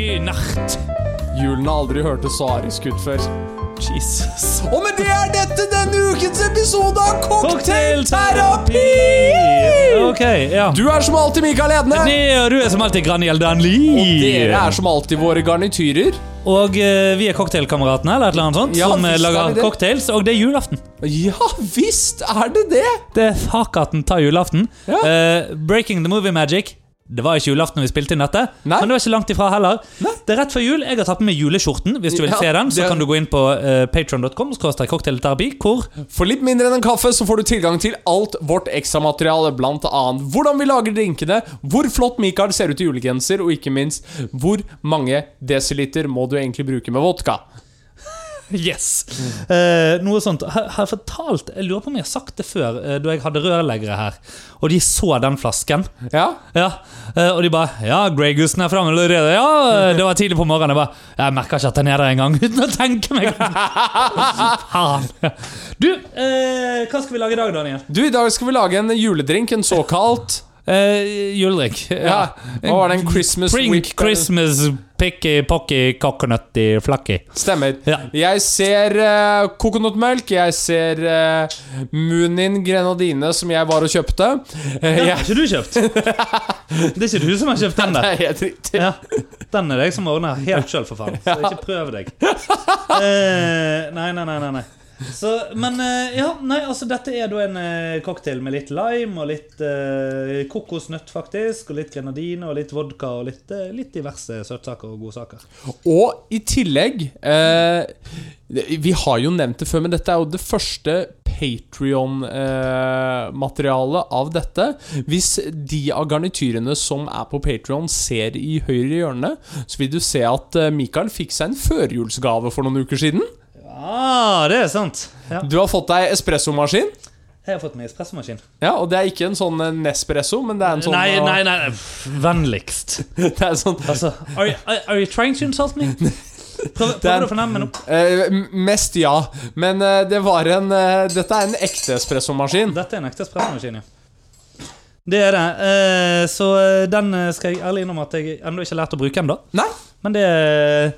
Shit. Julene har aldri hørtes så arisk ut før. Jesus. Og med det er dette denne ukens episode av Cocktailterapi! Ok, ja. Du er som alltid Mikael Edne. Det og du er som alltid Graniel Danli. Dere er som alltid våre garnityrer. Og eh, vi er cocktailkameratene, eller et eller annet sånt, Ja, som eh, visst er vi lager det. cocktails, og det er julaften. Ja visst er det det! Det er fakaten tar julaften. Ja. Eh, Breaking the Movie Magic. Det var ikke julaften vi spilte inn dette, Nei. men det var ikke langt ifra heller. Nei. Det er rett før jul. Jeg har tatt med meg juleskjorten. Hvis du vil Ja, se den, så det- kan du gå inn på uh, patron.com cocktailterapi, hvor For litt mindre enn en kaffe så får du tilgang til alt vårt ekstramateriale, blant annet hvordan vi lager drinkene, hvor flott Mikael ser ut i julegenser, og ikke minst hvor mange desiliter må du egentlig bruke med vodka. Yes! Eh, noe sånt. Har har jeg fortalt Jeg lurer på om jeg har sagt det før, eh, da jeg hadde rørleggere her, og de så den flasken. Ja? Ja, eh, Og de bare 'Ja, Grey Goosen er framme allerede.' Ja, eh, det var tidlig på morgenen. Jeg bare 'Jeg merker ikke at den er der engang', uten å tenke meg om. Faen. Du, eh, hva skal vi lage i dag, Daniel? Du, i dag skal vi lage en juledrink, en såkalt Eh, Juledrikk. Ja, hva var det en Christmas Prink, whip- Christmas, picky, pocky, coconutty, flacky. Stemmer. Ja. Jeg ser uh, kokonutmelk, jeg ser eh, Munin grenadine som jeg var og kjøpte. Eh, Den har jeg, ikke du kjøpt. Det er ikke du som har kjøpt den der. Nei, jeg driter. Ja, Den er deg som ordner helt sjøl, for faen. Så ikke prøv deg. Eh, nei, nei, nei. nei, nei. Så, men eh, ja, nei, altså dette er da en eh, cocktail med litt lime og litt eh, kokosnøtt, faktisk. Og litt grenadine og litt vodka og litt, eh, litt diverse søtsaker og godsaker. Og i tillegg eh, Vi har jo nevnt det før, men dette er jo det første Patrion-materialet av dette. Hvis de av garnityrene som er på Patrion, ser i høyre hjørne, så vil du se at eh, Mikael fikk seg en førjulsgave for noen uker siden. Ja, Ah, det er sant. Ja. Du har fått deg espressomaskin. Jeg har fått meg espressomaskin. Ja, og det er ikke en sånn eh, Nespresso, men det er en sånn nei, eh, nei, nei, nei, pff, vennligst. Det er en sånn Altså, are, you- are, are you trying to insult me? Prøv, Det er- prøver du å fornemme noe? eh, m- Mest ja, men eh, det var en eh, Dette er en ekte espressomaskin. Dette er en ekte espressomaskin, ja. Det er det. Eh, så eh, den eh, skal jeg ærlig innrømme at jeg ennå ikke har lært å bruke ennå. Nei, Men det eh,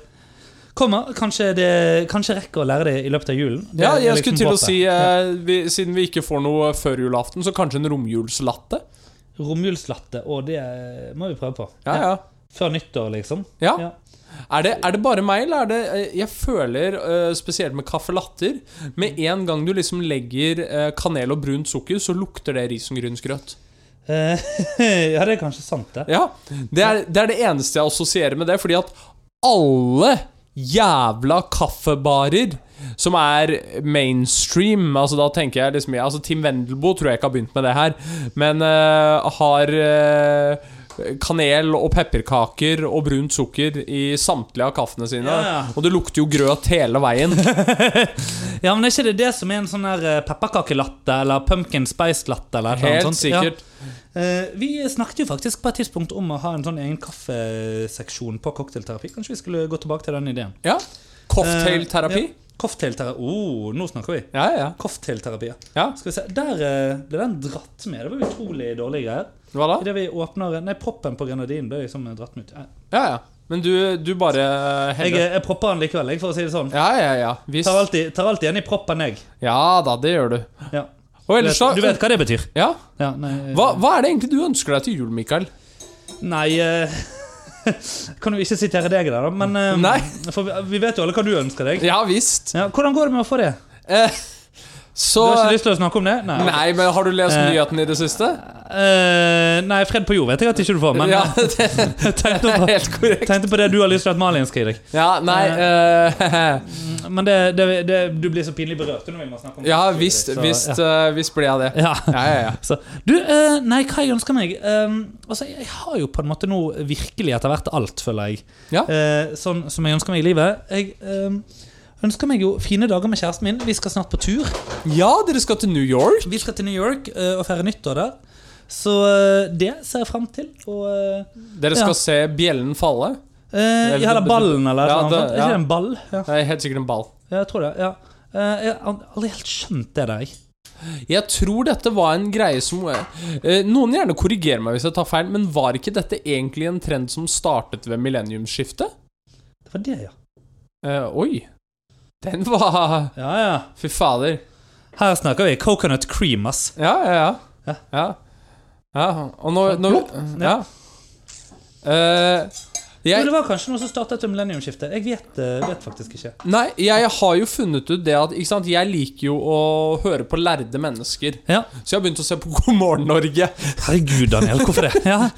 kommer. Kanskje, det, kanskje jeg rekker å lære det i løpet av julen. Det Ja, er jeg liksom skulle til å håpet. si eh, vi, Siden vi ikke får noe før julaften, så kanskje en romjulslatte? Romjulslatte, og det eh, må vi prøve på. Ja, ja. Før nyttår, liksom. ja. Ja. Er, det, er det bare meg, eller er det eh, Jeg føler, eh, spesielt med kaffelatter Med en gang du liksom legger eh, kanel og brunt sukker, så lukter det risengrynsgrøt. Eh, ja, det er kanskje sant, det. Ja, det er, det er det eneste jeg assosierer med det, fordi at alle jævla kaffebarer som er mainstream Altså da tenker jeg liksom altså Tim Wendelboe tror jeg ikke har begynt med det her, men eh, har eh, kanel og pepperkaker og brunt sukker i samtlige av kaffene sine. Ja, ja. Og det lukter jo grøt hele veien. Ja, men Er ikke det det som er en sånn der eh, pepperkakelatte eller pumpkin spice-latte? eller et eller annet Helt sånt? Ja. sikkert. Eh, vi snakket jo faktisk på et tidspunkt om å ha en sånn egen kaffeseksjon på cocktailterapi. Kanskje vi skulle gå tilbake til den ideen. Ja. Cocktailterapi. Eh, ja. Cocktailterapi. Oh, nå snakker vi. Ja, ja. Cocktailterapi. ja. ja. Skal vi se. Der eh, ble den dratt med. Det var utrolig dårlige greier. Hva da? Idet vi åpner Nei, proppen på grenadinen ble liksom dratt med ut. Eh, Ja, ja. Men du, du bare Jeg, eh, heller jeg propper den likevel, jeg, for å si det sånn. Ja, ja, ja. Visst. Tar alltid, tar alltid en i proppen, jeg. Ja da, det gjør du. Ja. Og Du, ellers vet, da du vet hva det betyr? ja. Ja, nei, eh, hva, hva er det egentlig du ønsker deg til jul, Mikael? Nei eh, Kan jo ikke sitere deg der, da, men eh, Nei. For vi, vi vet jo alle hva du ønsker deg. Ja visst. Ja, hvordan går det med å få det? Eh, Du så har ikke lyst til å snakke om det? Nei. Nei, men har du lest Eh. nyhetene i det siste? Eh, nei, fred på jord vet jeg at ikke du får, men ja, eh, det jeg tenkte, er på, helt korrekt. tenkte på det du har lyst til at Malin skal gi deg. Ja, nei eh, Men det, det, det, du blir så pinlig berørt når vi må snakke om det. Ja visst, Så, visst, Ja. eh, visst blir jeg det. Ja. Ja, ja, ja. Så, du, eh, nei, hva jeg ønsker meg? Ehm, altså, jeg har jo på en måte nå virkelig etter hvert alt, føler jeg. Ja. Eh, sånn som jeg ønsker meg i livet. Jeg ehm, ønsker meg jo fine dager med kjæresten min. Vi skal snart på tur. ja, dere skal til New York? Vi skal til New York eh, og feire nyttår der. Så eh, det ser jeg frem til. Og eh, Dere skal Ja. se bjellen falle? eh, ja, eller ballen, eller Ja, noe det- sånt. Er ja. ikke det en ball? Ja, Det er helt sikkert en ball. jeg tror det. ja. Eh, jeg har aldri helt skjønt det der. jeg. Jeg tror dette var en greie som eh, Noen gjerne korrigerer meg hvis jeg tar feil, men var ikke dette egentlig en trend som startet ved millenniumsskiftet? Det var det, ja. Eh, oi. Den var Ja, ja. Fy fader. Her snakker vi coconut cream, ass. Ja, ja, ja. Ja. Ja. ja. Og nå, nå Plopp, Ja. ned. Eh, Jo, jeg, det var kanskje noe som startet etter millenniumsskiftet. Jeg vet, eh, vet faktisk ikke. nei, jeg har jo funnet ut det at ikke sant, Jeg liker jo å høre på lærde mennesker. Ja. Så jeg har begynt å se på God morgen, Norge. Herregud, Daniel, hvorfor det? Ja,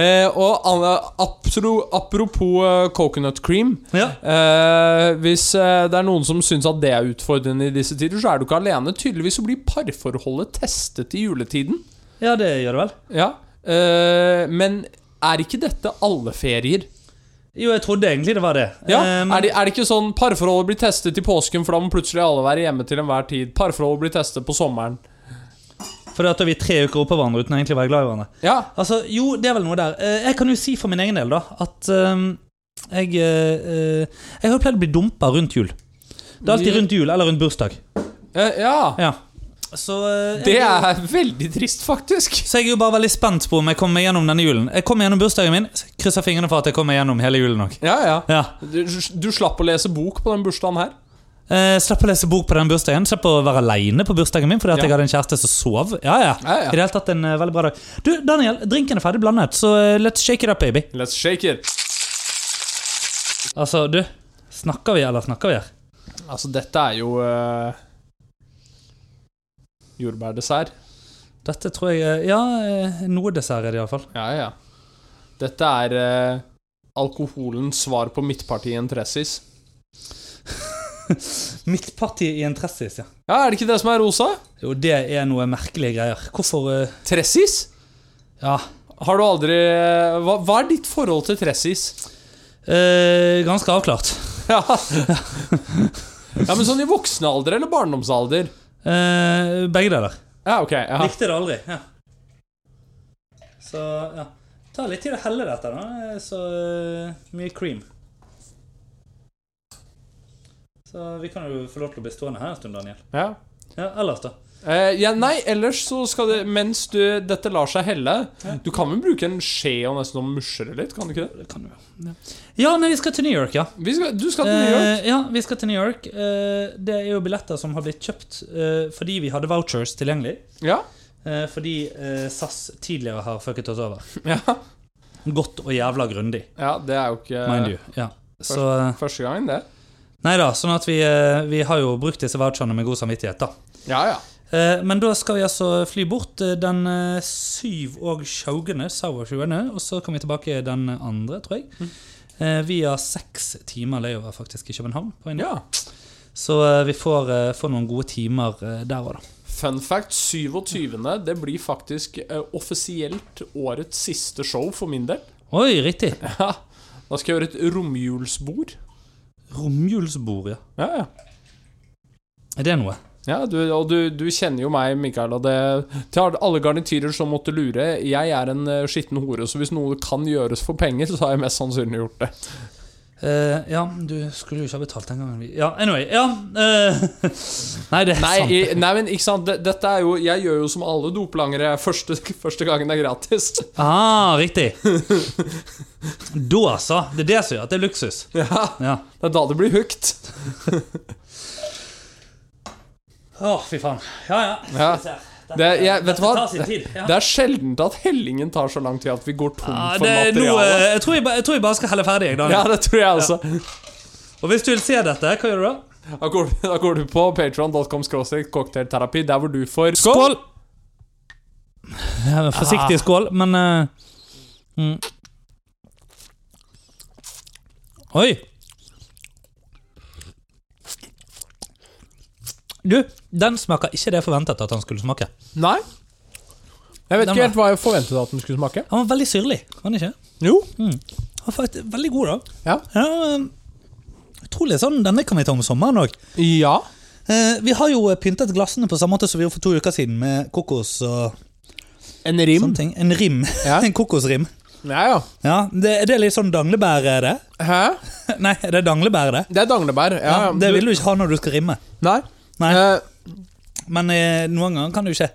Eh, og an- apro- apropos eh, coconut cream. ja. Eh, hvis eh, det er noen som syns at det er utfordrende i disse tider, så er du ikke alene. Tydeligvis så blir parforholdet testet i juletiden. ja det gjør det vel. Ja. Eh, men er ikke dette alle ferier? Jo, jeg trodde egentlig det var det. Ja, Eh, men- er, det, er det ikke sånn parforholdet blir testet i påsken, for da må plutselig alle være hjemme til enhver tid? Parforholdet blir testet på sommeren. For da er vi tre uker oppå hverandre uten egentlig å være glad i hverandre. Ja, Altså, jo, det er vel noe der. Eh, Jeg kan jo si for min egen del, da, at ehm, jeg eh, eh, Jeg har jo pleid å bli dumpa rundt jul. Det er alltid rundt jul eller rundt bursdag. eh, ja. Ja. Så eh, Det jeg, er veldig trist, faktisk. Så jeg er jo bare veldig spent på om jeg kommer meg gjennom denne julen. Jeg kommer gjennom bursdagen min, krysser fingrene for at jeg kommer meg gjennom hele julen òg. Ja, ja. Ja. Du, du slapp å lese bok på den bursdagen her. Eh, Slapp å lese bok på den bursdagen. Slapp å være aleine på bursdagen min fordi at Ja. jeg hadde en kjæreste som sov. Ja, ja. Ja, I ja. det hele tatt en eh, veldig bra dag. Du, Daniel, drinken er ferdig blandet, så eh, let's shake it up, baby. Let's shake it. Altså, du. Snakker vi, eller snakker vi her? Altså, dette er jo eh, jordbærdessert. Dette tror jeg er- Ja, eh, noe dessert er det iallfall. Ja, ja. Dette er eh, alkoholens svar på midtpartiet Entressis. Midtpartiet i en tressis, ja. Ja, er det ikke det som er rosa? Jo, det er noe merkelige greier. Hvorfor eh, Tressis? Ja. Har du aldri eh, Hva, hva er ditt forhold til tressis? Eh, ganske avklart. Ja. ja, men sånn i voksen alder eller barndomsalder? Eh, begge deler. Ja, ok. Ja. Likte det aldri. Ja. Så ja. Ta litt tid å helle dette, da. Så eh, mye cream. Så vi kan jo få lov til å bli stående her en stund, Daniel. Ja. Ja, ellers, da. Eh, ja, nei, ellers så skal det Mens du, dette lar seg helle Du kan vel bruke en skje og nesten musje det litt? kan du ikke det? Det kan du jo. Ja, nei, vi skal til New York, ja. Vi skal, du skal til New York. Eh, ja, vi skal til New York. Eh, det er jo billetter som har blitt kjøpt eh, fordi vi hadde vouchers tilgjengelig. Ja. Eh, fordi eh, SAS tidligere har fucket oss over. ja. Godt og jævla grundig, Ja, det er jo ikke mind you. Ja. Så eh, første gangen, det. Nei da, sånn at vi, eh, vi har jo brukt disse voucherne med god samvittighet, da. Ja, ja. Eh, Men da skal vi altså fly bort eh, den eh, 7. og 20. sauer 20., og så kommer vi tilbake den andre, tror jeg. Mm. Eh, Via seks timer layover faktisk i København. På en ja. Så eh, vi får, eh, får noen gode timer eh, der òg, da. Fun fact 27. Det blir faktisk eh, offisielt årets siste show for min del. Oi, riktig! Ja. Da skal jeg gjøre et romjulsbord. Romjulsbord, ja. Ja, ja. Er det noe? ja du, og du, du kjenner jo meg, Mikael. Og det, til alle garnityrer som måtte lure, jeg er en eh, skitten hore, så hvis noe kan gjøres for penger, så har jeg mest sannsynlig gjort det. Eh, ja, du skulle jo ikke ha betalt den gangen vi Ja, anyway. Ja. eh, nei, det er Nei, sant. i, nei men ikke sant. det- Dette er jo Jeg gjør jo som alle doplangere. Første, første gangen er gratis. Ah, riktig. da, altså. Det er det som gjør at det er luksus. Ja, Ja. Det er da det blir hooked. Å, fy faen. Ja, ja. Skal Ja. vi se her. Dette- Det, er- jeg, vet du dette hva? tar sin tid. Ja. Det er sjelden at hellingen tar så lang tid at vi går tom Ja, for det er noe, eh, materiale. jeg, tror jeg, ba- jeg tror jeg bare skal helle ferdig. jeg, Ja, Daniel. det tror jeg også. Og hvis du vil se dette, hva gjør du da? Da, går, da går du på patreon.com cocktailterapi, der hvor du får Skål! Ja, men forsiktig Ah. skål, men eh, mm. Oi! Du, den smaker ikke det jeg forventet at den skulle smake. Nei. Jeg vet Den ikke var- helt hva jeg forventet at den skulle smake. Den var veldig syrlig, var den ikke? Jo. Den var faktisk veldig god, da. Ja. Ja, eh, Utrolig sånn. Denne kan vi ta om sommeren òg. Ja. Eh, vi har jo pyntet glassene på samme måte som vi gjorde for to uker siden, med kokos og En rim. sånne ting. En rim. Mm. Ja. en kokosrim. Sånn. Ja, ja. Ja, det, det er litt sånn danglebær, er det? Hæ? Nei, er det danglebær, det? Det er danglebær. Ja, ja. det Du- vil du ikke ha når du skal rimme. Nei. Nei. Eh, Men eh, noen ganger kan du ikke.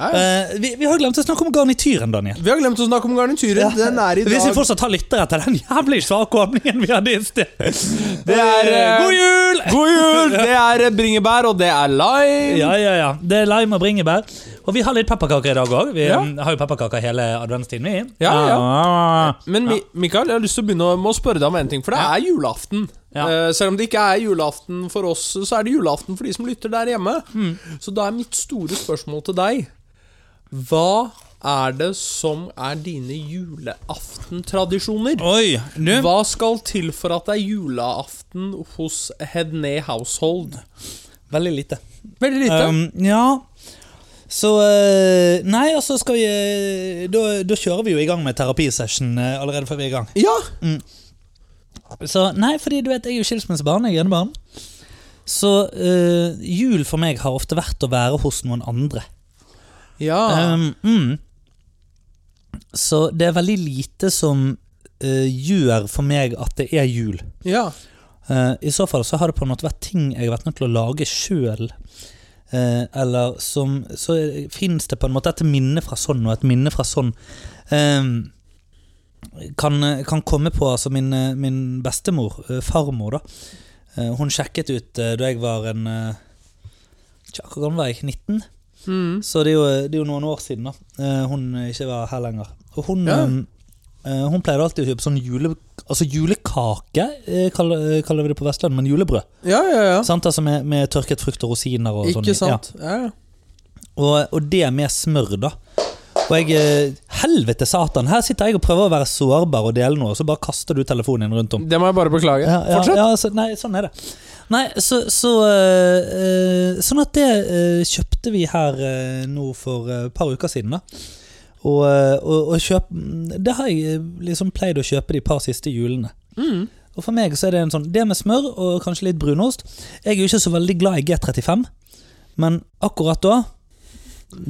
Ja. Eh, vi, vi har glemt å snakke om garnityren, Daniel. Vi har glemt å snakke om garnituren. Den er i Hvis vi dag fortsatt har lyttere etter den jævlig svake åpningen vi hadde i sted. Det er eh, God jul! God jul! Det er eh, bringebær, og det er lime. Ja, ja, ja. Det er lime og bringebær. Og vi har litt pepperkaker i dag òg. Vi Ja. mm, har jo pepperkaker hele adventstiden, vi. Ah. Ja, ja. Men Mi Mikael, jeg har lyst til å begynne å- med å spørre deg om en ting, for det er julaften. Ja. Eh, selv om det ikke er julaften for oss, så er det julaften for de som lytter der hjemme. Mm. Så da er mitt store spørsmål til deg Hva er det som er dine julaftentradisjoner? Oi, du. Hva skal til for at det er julaften hos Hedné Household? Veldig lite. Veldig lite. Um, ja. Så eh, Nei, altså skal vi eh, da, da kjører vi jo i gang med terapisession eh, allerede før vi er i gang. ja! Så Nei, fordi du vet, jeg er jo skilsmissebarn. Jeg er enebarn. Så eh, jul for meg har ofte vært å være hos noen andre. Ja. Um, mm. Så det er veldig lite som eh, gjør for meg at det er jul. ja. Eh, I så fall så har det på en måte vært ting jeg har vært nødt til å lage sjøl. eller som Så fins det på en måte et minne fra sånn og et minne fra sånn. Eh, kan, kan komme på altså min, eh, min bestemor, eh, farmor, da. Eh, hun sjekket ut eh, da jeg var en eh, Tja, hvor gammel var jeg? 19? Mm. Så det er, jo, det er jo noen år siden da eh, hun ikke var her lenger. Og hun, Ja. eh, hun pleide alltid å kjøpe sånn jule, altså julekake, eh, kaller, kaller vi det på Vestlandet, men julebrød. Ja, ja, ja. Sant? Altså med, med tørket frukt og rosiner og sånn. Ikke sant? Ja. ja. Ja. Og, og det med smør, da. Og jeg eh, Helvete, satan! Her sitter jeg og prøver å være sårbar og dele noe, og så bare kaster du telefonen din rundt om. Det må jeg bare beklage. Ja, ja, Fortsett. ja, så, nei, sånn er det. Nei, så, så eh, eh, Sånn at det eh, kjøpte vi her eh, nå for eh, et par uker siden, da. Og, eh, og, og kjøp, det har jeg eh, liksom pleid å kjøpe de par siste julene. Mm. Og for meg så er det en sånn Det med smør og kanskje litt brunost Jeg er jo ikke så veldig glad i G35, men akkurat da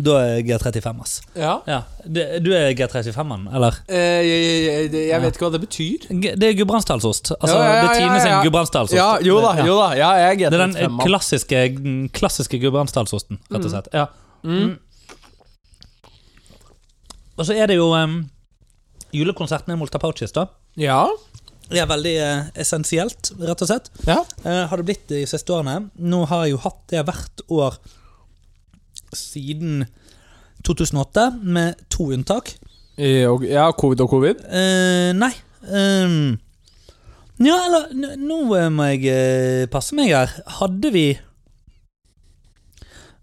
Da er G35, ass. ja. Ja, det- Du er G35-mann, eller? Eh, jeg, jeg, jeg, jeg Ja. vet ikke hva det betyr. G- Det er gudbrandsdalsost. Altså, Ja, ja, ja, det er Tine ja, ja. sin gudbrandsdalsost. Ja, jo da, Ja. jo da. Ja, jeg er Det er den G35-mann. klassiske, den klassiske gudbrandsdalsosten, rett og slett. Ja. Mm. Og så er det jo em, julekonserten i Molta Pouches, da. Ja. Det er veldig eh, essensielt, rett og slett. ja. Eh, har det blitt de siste årene. Nå har jeg jo hatt det hvert år siden 2008, med to unntak. Eh, og- Ja, covid og covid. Eh, nei ehm, Ja, eller n- Nå eh, må jeg eh, passe meg her. Hadde vi,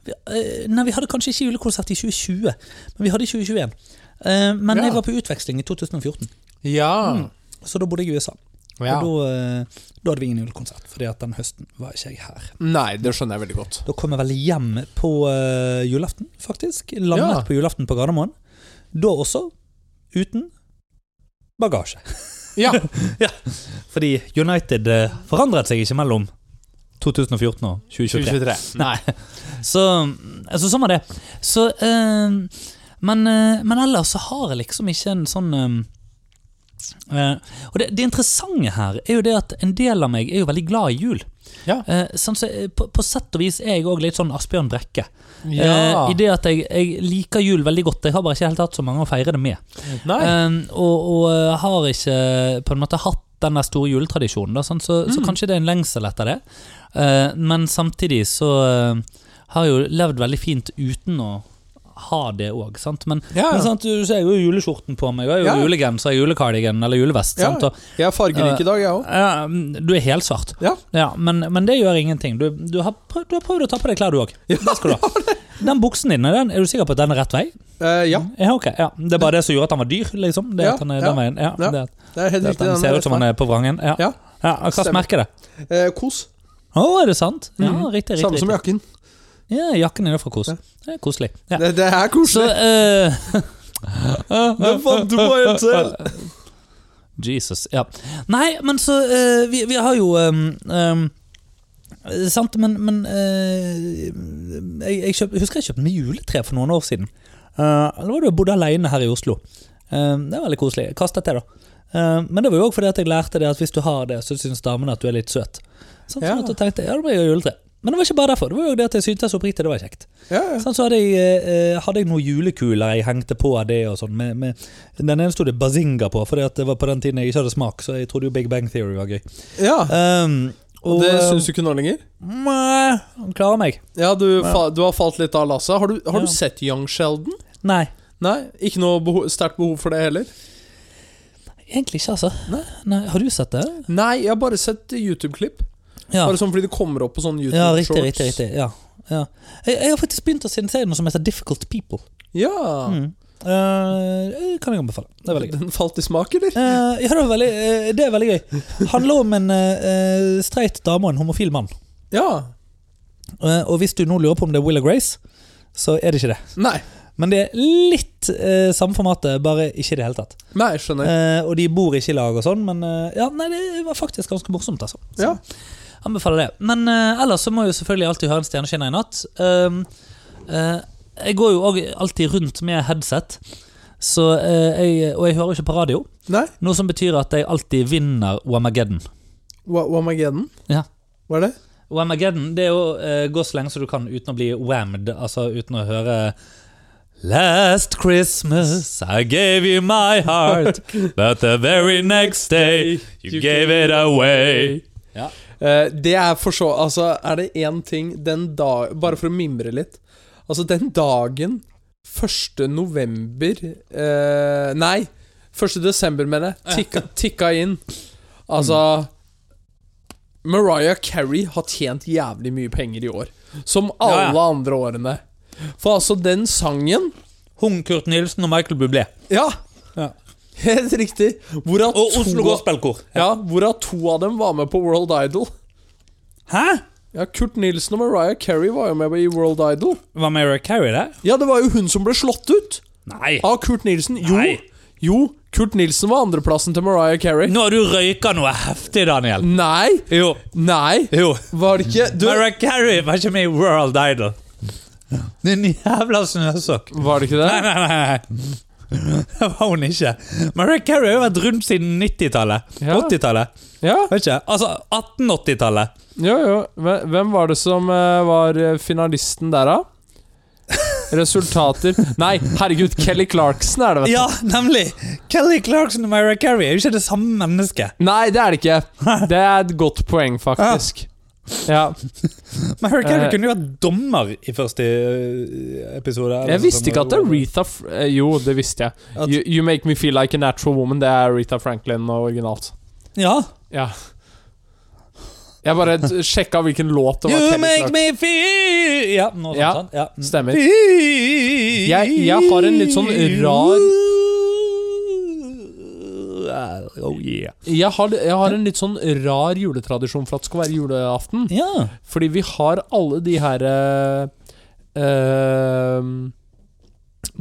vi eh, Nei, vi hadde kanskje ikke julekonsert i 2020, men vi hadde i 2021. Eh, men Ja. jeg var på utveksling i 2014, Ja. så da bodde jeg i USA. ja. Og da, eh, da hadde vi ingen julekonsert, Fordi at den høsten var ikke jeg her. Nei, det skjønner jeg veldig godt. Da kom jeg vel hjem på eh, julaften, faktisk. Landet Ja. på julaften på Gardermoen. Da også uten bagasje. Ja. Fordi United eh, forandret seg ikke mellom 2014 og 2023. 2023. Nei. Så altså, sånn var det. Så, eh, men, eh, men ellers så har jeg liksom ikke en sånn eh, eh, Og det, det interessante her er jo det at en del av meg er jo veldig glad i jul. Ja. Eh, sånn, så, eh, på, på sett og vis er jeg òg litt sånn Asbjørn Brekke. Ja. Eh, I det at jeg, jeg liker jul veldig godt. Jeg har bare ikke helt hatt så mange å feire det med. Nei. Um, og, og uh, har ikke på en måte hatt den der store juletradisjonen, da, sånn, så, Mm. så kanskje det er en lengsel etter det. Uh, men samtidig så uh, har jeg jo levd veldig fint uten å ha det òg, sant. Men, Ja. men sant, du ser jo juleskjorten på meg, og jeg har Ja. jo julegenser, julekardigan eller julevest. Ja. Sant? Og, Jeg er fargerik i dag, jeg òg. ja, du er helsvart. Eh, Ja. Ja, men, men det gjør ingenting. Du, du, har prøvd, du har prøvd å ta på deg klær, du òg. Det skal du ha. Den buksen din, er den- er du sikker på at den er rett vei? Eh, ja. Ja, ok. Ja. Det er bare det som gjorde at han var dyr, liksom. Det Ja, at han er ja, den veien. Ja, ja. Det, Det er helt det riktig. at han den ser er ut som han er på vrangen. Ja. Ja. Ja, og Hva Stemmer. merker det? Mm. rett. Eh, Kos. Å, er det sant? Ja, Mhm. riktig, riktig. Samme som riktig. jakken. Ja, jakken er fra Kos. Ja. Det er koselig. Ja. Det, det er Så koselig. eh, Den fant du på helt selv. Jesus, ja. Nei, men så eh, vi, vi har jo ehm, ehm, eh, Sant, men, men eh, jeg, jeg kjøp, husker jeg kjøpte meg juletre for noen år siden. Uh, da var det jeg bodde alene her i Oslo. Eh, det var veldig koselig. Jeg Kastet det, da. Eh, men det var jo òg fordi at jeg lærte det at hvis du har det, så syns damene at du er litt søt. Sant, Ja. Sånn at jeg tenkte ja, da blir jeg juletre. Men det var ikke bare derfor. Det var jo det at jeg syntes oppriktig det var kjekt. Ja, ja. Sånn, så hadde jeg, eh, hadde jeg noen julekuler jeg hengte på av det og sånn. Med, med, den ene sto det Bazinga på, for det var på den tiden jeg ikke hadde smak, så jeg trodde jo Big Bang Theory var gøy. ja. Um, og eh, Det syns du ikke nå lenger? Mæ, han klarer meg. Ja, du, fa du har falt litt av lasset. Har, du- har Ja. du sett Young Sheldon? Nei, Nei, ikke noe beho sterkt behov for det heller. egentlig ikke, altså. Nei. har du sett det? Nei, jeg har bare sett YouTube-klipp. Ja, Bare sånn fordi det kommer opp på sånn ja YouTube-shorts. riktig, riktig. riktig ja. Ja. Jeg, jeg har faktisk begynt å se en serie nå som heter Difficult People. Ja. Mm. Eh, kan jeg anbefale. Det er veldig gøy. Den falt i smak, eller? Eh, ja, det, var veldig, eh, det er veldig gøy. Handler om en uh, streit dame og en homofil mann. Ja. Eh, og hvis du nå lurer på om det er Will og Grace, så er det ikke det. Nei. Men det er litt eh, samme formatet, bare ikke i det hele tatt. Nei, skjønner. Eh, og de bor ikke i lag og sånn, men eh, ja, nei, det var faktisk ganske morsomt, altså. Så Ja. anbefaler det. Men eh, ellers så må jeg jo selvfølgelig alltid høre en stjerneskinner i natt. Um, eh, jeg går jo òg alltid rundt med headset, så, eh, jeg, og jeg hører jo ikke på radio. Nei, Noe som betyr at jeg alltid vinner Wamageddon. Wa- Wamageddon? Ja. Hva er det? Wamageddon det er jo eh, gå så lenge som du kan uten å bli whammed, altså uten å høre Last Christmas I gave you my heart, but the very next day you gave it away. Ja. Eh, det er for så Altså, er det én ting den dag Bare for å mimre litt. Altså, den dagen 1. november eh, Nei, 1. desember, mener jeg. Tikka, tikka inn. Altså Mariah Carey har tjent jævlig mye penger i år. Som alle Ja, ja. andre årene. For altså, den sangen Hun, Kurt Nilsen og Michael Bublé. Ja! Ja. Helt riktig. Hvorav Og Oslo to, Gospelkor. ja, hvorav to av dem var med på World Idol. Hæ? Ja, Kurt Nilsen og Mariah Carey var jo med i World Idol. Var Mary Carey der? Ja, det var jo hun som ble slått ut Nei. av Kurt Nilsen. Jo, Nei. jo Kurt Nilsen var andreplassen til Mariah Carey. Nå har du røyka noe heftig, Daniel. Nei, Jo. nei, Jo. var det ikke du, Mariah Carey var ikke med i World Idol. Din jævla snøsokk. Var det ikke Nei, det? nei, nei. nei. Det var hun ikke. Mariah Carey har jo vært rundt siden 90-tallet. Ja. 80-tallet. Ja, Vet ikke. Altså 1880-tallet. jo, jo. Hve- Hvem var det som eh, var eh, finalisten der, da? Resultater Nei, herregud, Kelly Clarkson er det, vet du. Ja, nemlig! Kelly Clarkson og Mariah Carey er jo ikke det samme mennesket. Nei, det er det ikke. Det er et godt poeng, faktisk. Ja. Mariah Eh. Carey kunne jo vært dommer i første eh, episode. eller Jeg sånn visste som- ikke at Aretha Fr- eh, Jo, det visste jeg. At- You, you Make Me Feel Like a Natural Woman, det er Aretha Franklin og originalt. Ja. Ja. Jeg bare t- sjekka hvilken låt det var. You Kelly make Clarkson. me feel Ja, noe sånt. Ja, sånn. Ja. Mm. stemmer. Jeg- jeg har en litt sånn rar Oh yeah. Jeg har, jeg har en litt sånn rar juletradisjon for at det skal være julaften. Ja. Fordi vi har alle de her eh, eh,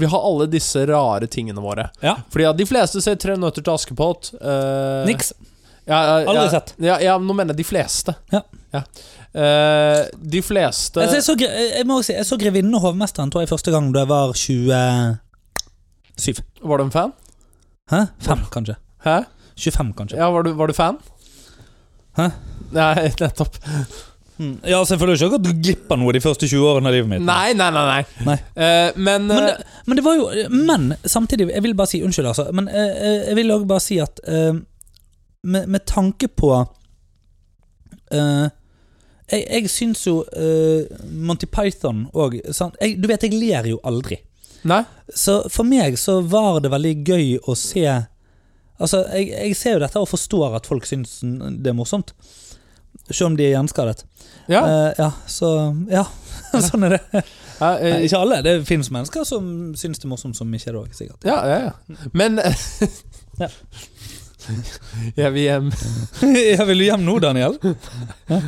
Vi har alle disse rare tingene våre. Ja. Fordi at de fleste ser 'Tre nøtter til Askepott'. eh, Niks. Ja, ja, ja, Aldri sett. Ja, ja, men nå mener jeg de fleste. Ja. Eh, de fleste Altså, jeg, så, Gre- jeg må også si, jeg så 'Grevinnen og hovmesteren' tror jeg første gang da jeg var 27. Var du en fan? Hæ? 5, kanskje. Hæ? 25, kanskje. Ja, var du, var du fan? Hæ? Nei, nettopp. Mm. Ja, altså, Jeg føler jo ikke at du glipper noe de første 20 årene av livet mitt. Nei, nei, nei. nei. Nei. Eh, men, Men, eh, det- men det var jo Men samtidig, jeg vil bare si unnskyld, altså. Men eh, eh, jeg vil òg bare si at eh, med, med tanke på eh, Jeg, jeg syns jo eh, Monty Python òg Du vet, jeg ler jo aldri. Nei? Så for meg så var det veldig gøy å se Altså, jeg, jeg ser jo dette og forstår at folk syns det er morsomt. Selv om de er gjenskadet. Ja. Eh, ja så Ja, sånn er det. ja, eh, Ikke alle. Det fins mennesker som syns det er morsomt, som ikke er det òg, sikkert. ja, ja, ja. Men Ja. Jeg vil hjem. jeg vil jo hjem nå, Daniel. Nei, jeg,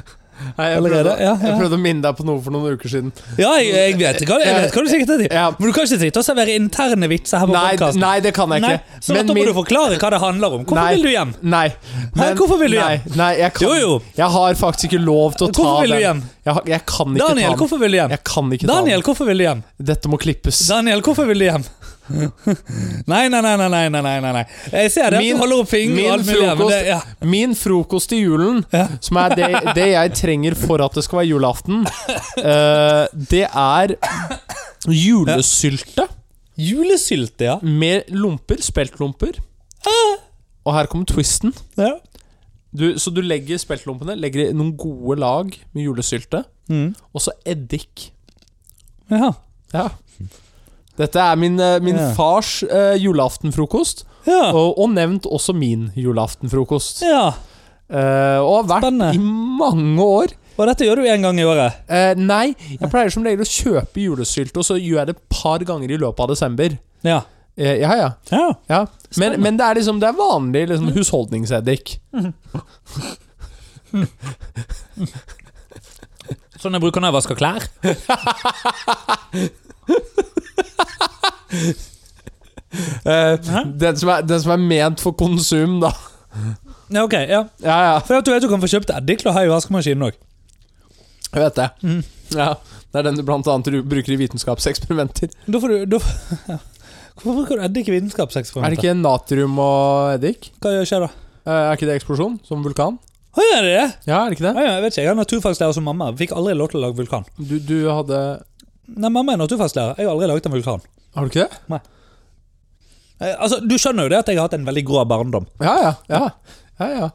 prøvde, Allerede? Ja, ja. jeg prøvde å minne deg på noe for noen uker siden. Ja, jeg, jeg, vet, hva, jeg vet hva du sikter til. Ja. Men du kan ikke sitte og servere interne vitser her på Nei, podkasten. nei, det kan jeg ikke. så da må du forklare hva det handler om. Hvorfor Nei. vil du hjem? Nei. men- hvorfor vil du nei, Nei, jeg kan Jo, jo. Jeg har faktisk ikke lov til å ta Hvorfor vil du den. hjem? Jeg, har- jeg kan ikke Daniel, ta den. hvorfor vil du hjem? Jeg kan ikke Daniel, ta hvorfor vil du hjem? den. Dette må klippes. Daniel, hvorfor vil du hjem? Nei, nei, nei, nei, nei, nei, nei, nei, nei. Jeg ser det at Min- du holder opp fingre og Min alt mulig. her, Men frokost, det, ja. min frokost i julen, som er det, det jeg trenger for at det skal være julaften, eh, det er julesylte Julesylte, ja. med lomper, speltlomper. Og her kommer twisten. ja. Du, så du legger speltlompene Legger i noen gode lag med julesylte, Mm. og så eddik. ja. Ja. Dette er min, eh, min Ja. fars eh, julaftenfrokost, Ja. og, og nevnt også min julaftenfrokost. ja. Eh, og har vært Spennende. i mange år. Og dette gjør du én gang i året. Eh, nei, jeg pleier som regel å kjøpe julesylte, og så gjør jeg det et par ganger i løpet av desember. Ja. Eh, ja, ja. ja. ja. Men, men det er liksom Det er vanlig Mm. liksom, husholdningseddik. Sånn jeg bruker når jeg vasker klær. Eh, den, som er, den som er ment for konsum, da. Ja, ok, ja. Ja, ja. For at du vet du kan få kjøpt eddik til å ha i vaskemaskinen òg. Jeg vet det. Mm. Ja, det er den du blant annet ru- bruker i vitenskapseksperimenter. Da får du da, ja. Hvorfor bruker du eddik i Er det vitenskapseksperimenter? ikke natrium og eddik? Hva gjør- skjer da? Eh, er ikke det eksplosjon? Som vulkan? Å, gjør det det? Ja, er det ikke Å, det? ja, jeg vet ikke, jeg er naturfagslærer som mamma. Fikk aldri lov til å lage vulkan. Du, du hadde Nei, mamma er naturfagslærer. Jeg har aldri laget en vulkan. Har du ikke det? Eh, Altså, Du skjønner jo det at jeg har hatt en veldig grå barndom. Ja, ja. Ja, ja. ja. Ja.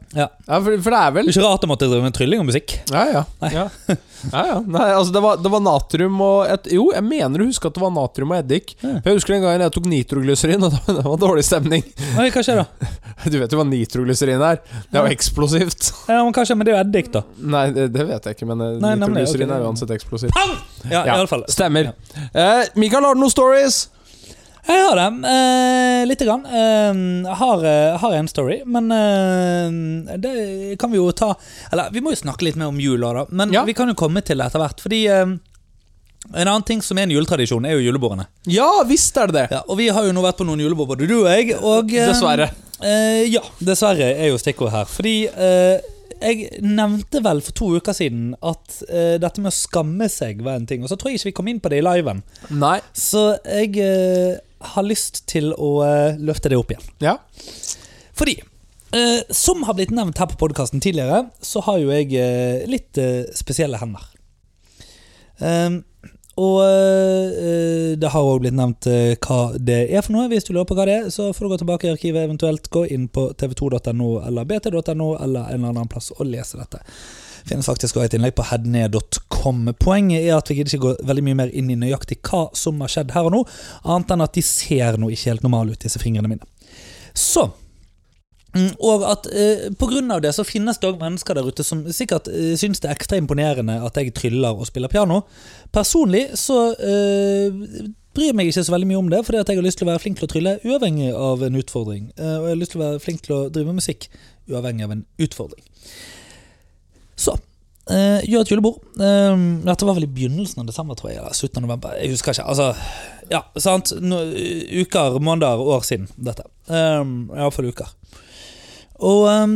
ja for, for det er vel Det er ikke rart jeg måtte drive med trylling og musikk. Ja, ja. Ja. ja, ja. Nei, altså det var, det var natrium og et, Jo, jeg mener du husker at det var natrium og eddik. Ja. Jeg husker en gang jeg tok nitroglyserin, og det var dårlig stemning. Nei, hva skjer da? Du vet jo hva nitroglyserin er? Det er jo eksplosivt. Ja, men Eh, hva skjer med det er jo eddik, da? Nei, det, det vet jeg ikke, men eh, Nei, nemlig, nitroglyserin ok. er uansett eksplosivt. Ja, i alle fall. Stemmer. Eh, Mikael, har du noen stories? Jeg har dem, eh, lite grann. Eh, jeg har, eh, har en story, men eh, det kan vi jo ta Eller vi må jo snakke litt mer om jul, også, da. Men Ja. vi kan jo komme til det etter hvert. Fordi eh, en annen ting som er en juletradisjon, er jo julebordene. Ja visst er det det. Ja, og vi har jo nå vært på noen julebord, både du og jeg. Og, eh, Dessverre. Eh, ja, dessverre er jo stikkordet her. Fordi eh, jeg nevnte vel for to uker siden at eh, dette med å skamme seg var en ting. Og så tror jeg ikke vi kom inn på det i liven. Nei. Så jeg eh, har lyst til å eh, løfte det opp igjen. Ja. Fordi, eh, som har blitt nevnt her på podkasten tidligere, så har jo jeg eh, litt eh, spesielle hender. Ehm, og eh, det har òg blitt nevnt eh, hva det er for noe. Hvis du lurer på hva det er, så får du gå tilbake i arkivet, eventuelt gå inn på tv2.no eller bt.no eller en eller annen plass og lese dette. Finnes faktisk også et innlegg på headned.com. Poenget er at vi gidder ikke gå veldig mye mer inn i nøyaktig hva som har skjedd her og nå, annet enn at de ser nå ikke helt normale ut, disse fingrene mine. Så Mm, Og at eh, på grunn av det så finnes det òg mennesker der ute som sikkert eh, syns det er ekstra imponerende at jeg tryller og spiller piano. Personlig så eh, bryr meg ikke så veldig mye om det, fordi at jeg har lyst til å være flink til å trylle uavhengig av en utfordring. Eh, og jeg har lyst til å være flink til å drive med musikk uavhengig av en utfordring. Så eh, gjør et julebord. Eh, dette var vel i begynnelsen av desember, tror jeg. Eller slutten av november. Jeg husker ikke. Altså, ja, sant. Nå, eh, uker, måneder, år siden dette. Um, Iallfall uker. Og ehm,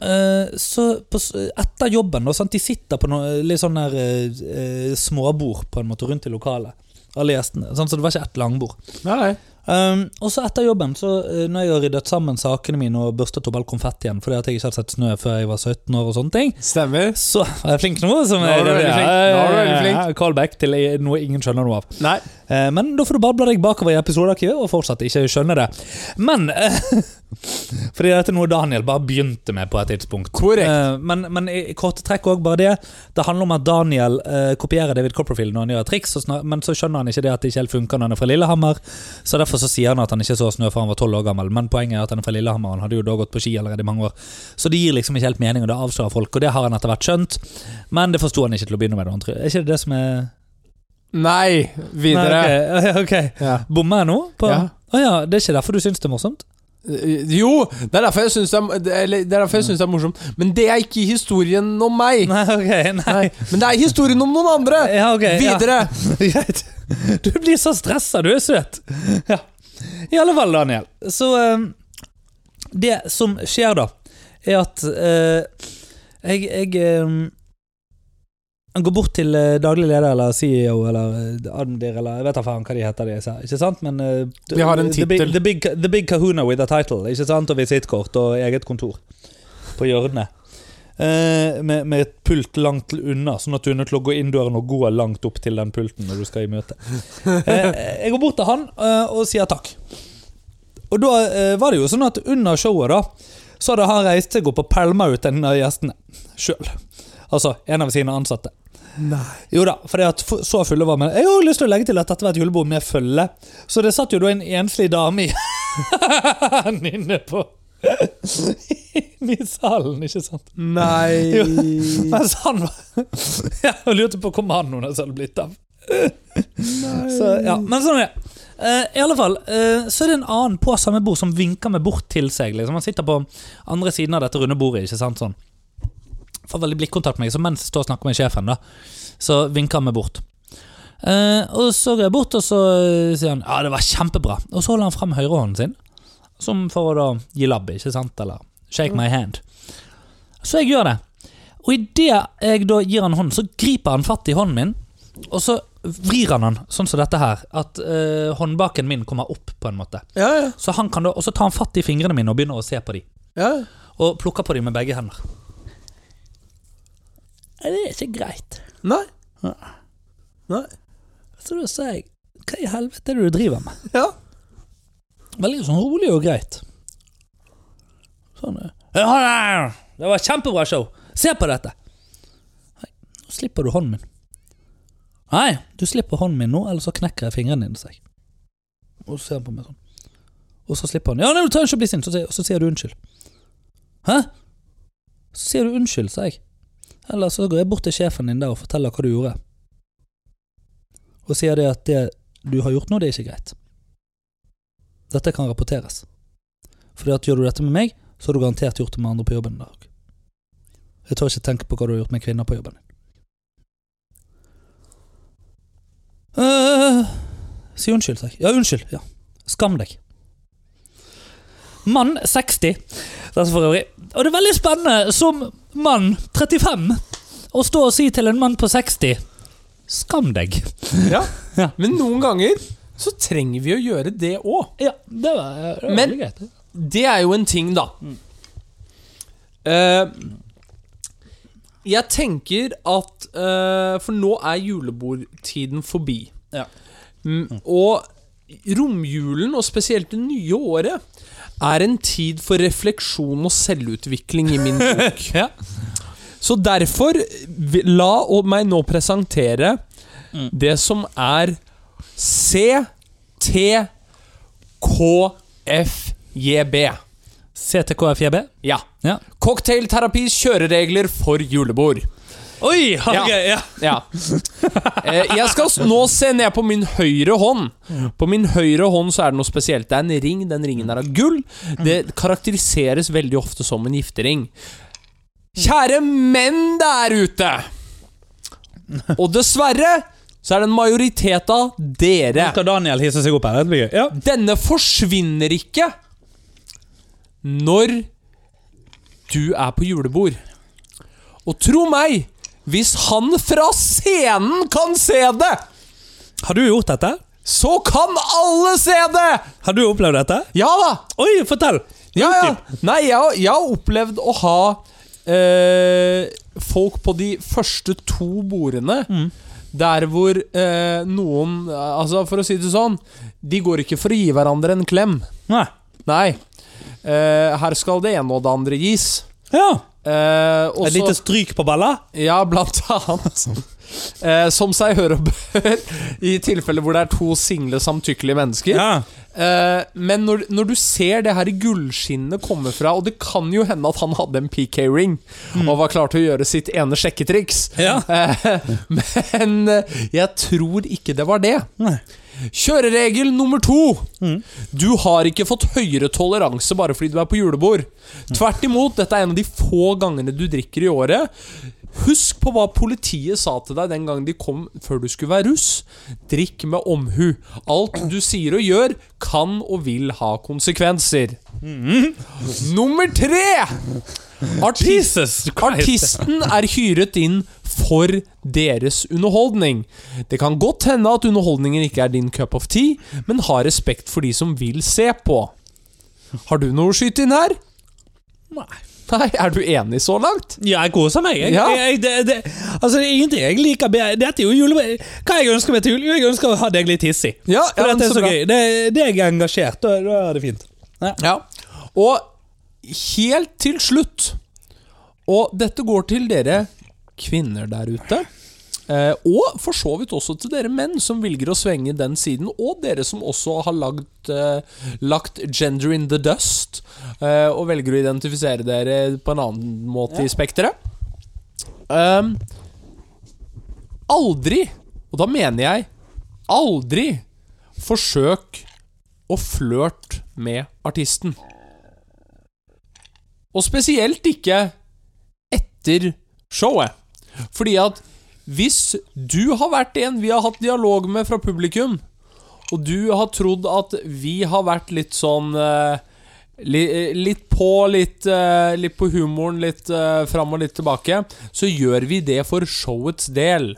eh, så på, s- etter jobben, da, sant? de sitter på noe litt sånn der eh, eh, småbord på en måte rundt i lokalet. Alle gjestene. Sant? Så det var ikke ett langbord. Nei, nei. Ehm, og så etter jobben, så eh, når jeg har ryddet sammen sakene mine og børstet opp all konfettien fordi at jeg ikke hadde sett snø før jeg var 17 år og sånne ting, Stemmer. så var jeg flink nå. Som Nå er du jeg- veldig flink. Ja, ja, Nå er du veldig ja, flink. ja, Callback til eh, noe ingen skjønner noe av. Nei. Eh, Men da får du bare bla deg bakover i episodearkivet og fortsatt ikke skjønne det. Men eh, Fordi dette er noe Daniel bare begynte med på et tidspunkt. Korrekt. Eh, Men, men i i korte trekk òg bare det. Det handler om at Daniel eh, kopierer David Copperfield når han gjør et triks, og snar- men så skjønner han ikke det at det ikke helt funker når han er fra Lillehammer. Så derfor så sier han at han ikke så snø før han var tolv år gammel, men poenget er at han er fra Lillehammer, og han hadde jo da gått på ski allerede i mange år. Så det gir liksom ikke helt mening, og det avslører folk, og det har han etter hvert skjønt, men det forsto han ikke til å begynne med. da, han tror- Er ikke det det som er Nei. Videre. Nei, ok, ok. Ja. Bommer jeg nå? På? Ja. Å ja, det er ikke derfor du syns det er morsomt? Eh, Jo, det er derfor jeg syns det, er- det, eller, det, er derfor jeg synes det er morsomt. Men det er ikke historien om meg. Mm. Nei, ok, nei. Men det er historien om noen andre! Ja, ok. ja. Videre! Greit. Du blir så stressa, du er søt. Ja. I alle fall, Daniel. Så eh, Det som skjer, da, er at eh, jeg, jeg eh, Han ehm, går bort til eh, daglig leder eller CEO eller eh, Admdir eller jeg vet da faen hva de heter. de sa, ikke sant? Men eh, Vi har en the, big, tittel. the, big, the Big Kahuna with a title. ikke sant? Og visittkort og eget kontor på hjørnet. Eh, med, med et pult langt unna, sånn at du er nødt til å gå inn døren og gå langt opp til den pulten når du skal i møte. Eh, jeg går bort til han eh, og sier takk. Og da eh, var det jo sånn at under showet, da, så hadde han reist seg opp og pælma ut en av gjestene sjøl. Altså en av sine ansatte. Jo da, fordi at f- så fulle var vi. Jeg har også lyst til å legge til at dette var et julebord med følge. Så det satt jo da en enslig dame i inne på Inne i salen, ikke sant? Nei Jo. Mens han var Jeg lurte på hvor mannen hennes hadde blitt av. Så, ja. Men sånn er det. Eh, I alle fall, eh, så er det en annen på samme bord som vinker meg bort til seg. Liksom. Han sitter på andre siden av dette runde bordet. Ikke sant? Sånn. Får veldig blikkontakt med meg, så mens jeg står og snakker med sjefen, da, så vinker han meg bort. Eh, og så går jeg bort, og så eh, sier han ja, det var kjempebra. Og så holder han frem høyrehånden sin, som for å da gi labb, ikke sant? Eller shake my hand. Så jeg gjør det. Og idet jeg da gir han hånden, så griper han fatt i hånden min, og så vrir han han, sånn som dette her. At eh, håndbaken min kommer opp, på en måte. Ja, ja. Så han kan da, Og så tar han fatt i fingrene mine og begynner å se på de. ja. Og plukker på de med begge hender. Nei, det er ikke greit. Nei. Nei. Så da sa jeg Hva i helvete er det du driver med? Ja. Veldig sånn rolig og greit. Sånn eh, «Ja, ja, ja. Det var et kjempebra show. Se på dette. Nei, nå slipper du hånden min. Nei, du slipper hånden min nå, ellers så knekker jeg fingrene dine. sa jeg. Og så ser han på meg sånn. Og så slipper han. Ja, nei, du trenger ikke å bli sint. Så sier, og så sier du unnskyld. Hæ? Så sier du unnskyld, sa jeg. Eller så går jeg bort til sjefen din der og forteller hva du gjorde. Og sier det at det du har gjort nå, det er ikke greit. Dette kan rapporteres. Fordi at gjør du dette med meg, så har du garantert gjort det med andre på jobben der òg. Jeg tør ikke tenke på hva du har gjort med kvinner på jobben din. «Øh, si unnskyld, sa jeg. Ja, unnskyld. Ja. Skam deg. Mann 60, dette for øvrig. Og det er veldig spennende som mann 35 å stå og si til en mann på 60 Skam deg. ja. Ja. Men noen ganger så trenger vi å gjøre det òg. Ja, det var, det var Men- veldig greit. Det er jo en ting, da. Eh, jeg tenker at eh, For nå er julebordtiden forbi. Ja. Mm, og romjulen, og spesielt det nye året, er en tid for refleksjon og selvutvikling i min bok. Så derfor, vi- la og- meg nå presentere det som er CTKFJB. CTKFJB? Ja. Ja. Cocktailterapis kjøreregler for julebord. Oi! ok, Ja. ja. Ja. Eh, Jeg skal s- nå se ned på min høyre hånd. På min høyre hånd så er det noe spesielt. Det er en ring. Den ringen er av gull. Det karakteriseres veldig ofte som en giftering. Kjære menn der ute! Og dessverre så er det en majoritet av dere. Skal Daniel hisse seg opp her? Det blir gøy. Ja. Denne forsvinner ikke når du er på julebord. Og tro meg, hvis han fra scenen kan se det, Har du gjort dette? så kan alle se det! Har du opplevd dette? Ja da! Oi, fortell! Ja, ja. Nei, jeg, har- jeg har opplevd å ha eh, folk på de første to bordene der hvor eh, noen Altså, for å si det sånn, de går ikke for å gi hverandre en klem. Nei. Nei. Eh, her skal det ene og det andre gis. Ja. Eh, og Et så- lite stryk på balla? Ja, blant annet. Eh, som seg hør og bør, i tilfeller hvor det er to single samtykkelige mennesker. Eh, men når, når du ser det her gullskinnet komme fra, og det kan jo hende at han hadde en PK-ring og var klar til å gjøre sitt ene sjekketriks, Hmm. Ja. Eh, men eh, jeg tror ikke det var det. Nei. Kjøreregel nummer to. Du har ikke fått høyere toleranse bare fordi du er på julebord. Tvert imot, dette er en av de få gangene du drikker i året. Husk på hva politiet sa til deg den gangen de kom før du skulle være russ. Drikk med omhu. Alt du sier og gjør, kan og vil ha konsekvenser. Nummer tre! Artist, Jesus Christ. artisten er hyret inn for deres underholdning. Det kan godt hende at underholdningen ikke er din cup of tea, men ha respekt for de som vil se på. Har du noe å skyte inn her? Nei. Nei, er du enig så langt? Ja, jeg koser meg. Jeg, Ja. jeg, det, det, altså, det er ingenting jeg liker bedre. Dette er jo jule... Hva jeg ønsker meg til jul? Jo, jeg ønsker å ha deg litt hissig. Ja, For ja, men dette er så så bra. gøy. Det, det er jeg engasjert. Da, da er det fint. Ja. Og helt til slutt Og dette går til dere kvinner der ute. eh, Og for så vidt også til dere menn som velger å svinge den siden, og dere som også har lagd, eh, lagt 'gender in the dust' eh, og velger å identifisere dere på en annen måte i spekteret. Um, aldri, og da mener jeg aldri, forsøk og flørt med artisten. Og spesielt ikke etter showet. Fordi at hvis du har vært en vi har hatt dialog med fra publikum, og du har trodd at vi har vært litt sånn eh, li, eh, Litt på, litt, eh, litt på humoren, litt eh, fram og litt tilbake, så gjør vi det for showets del.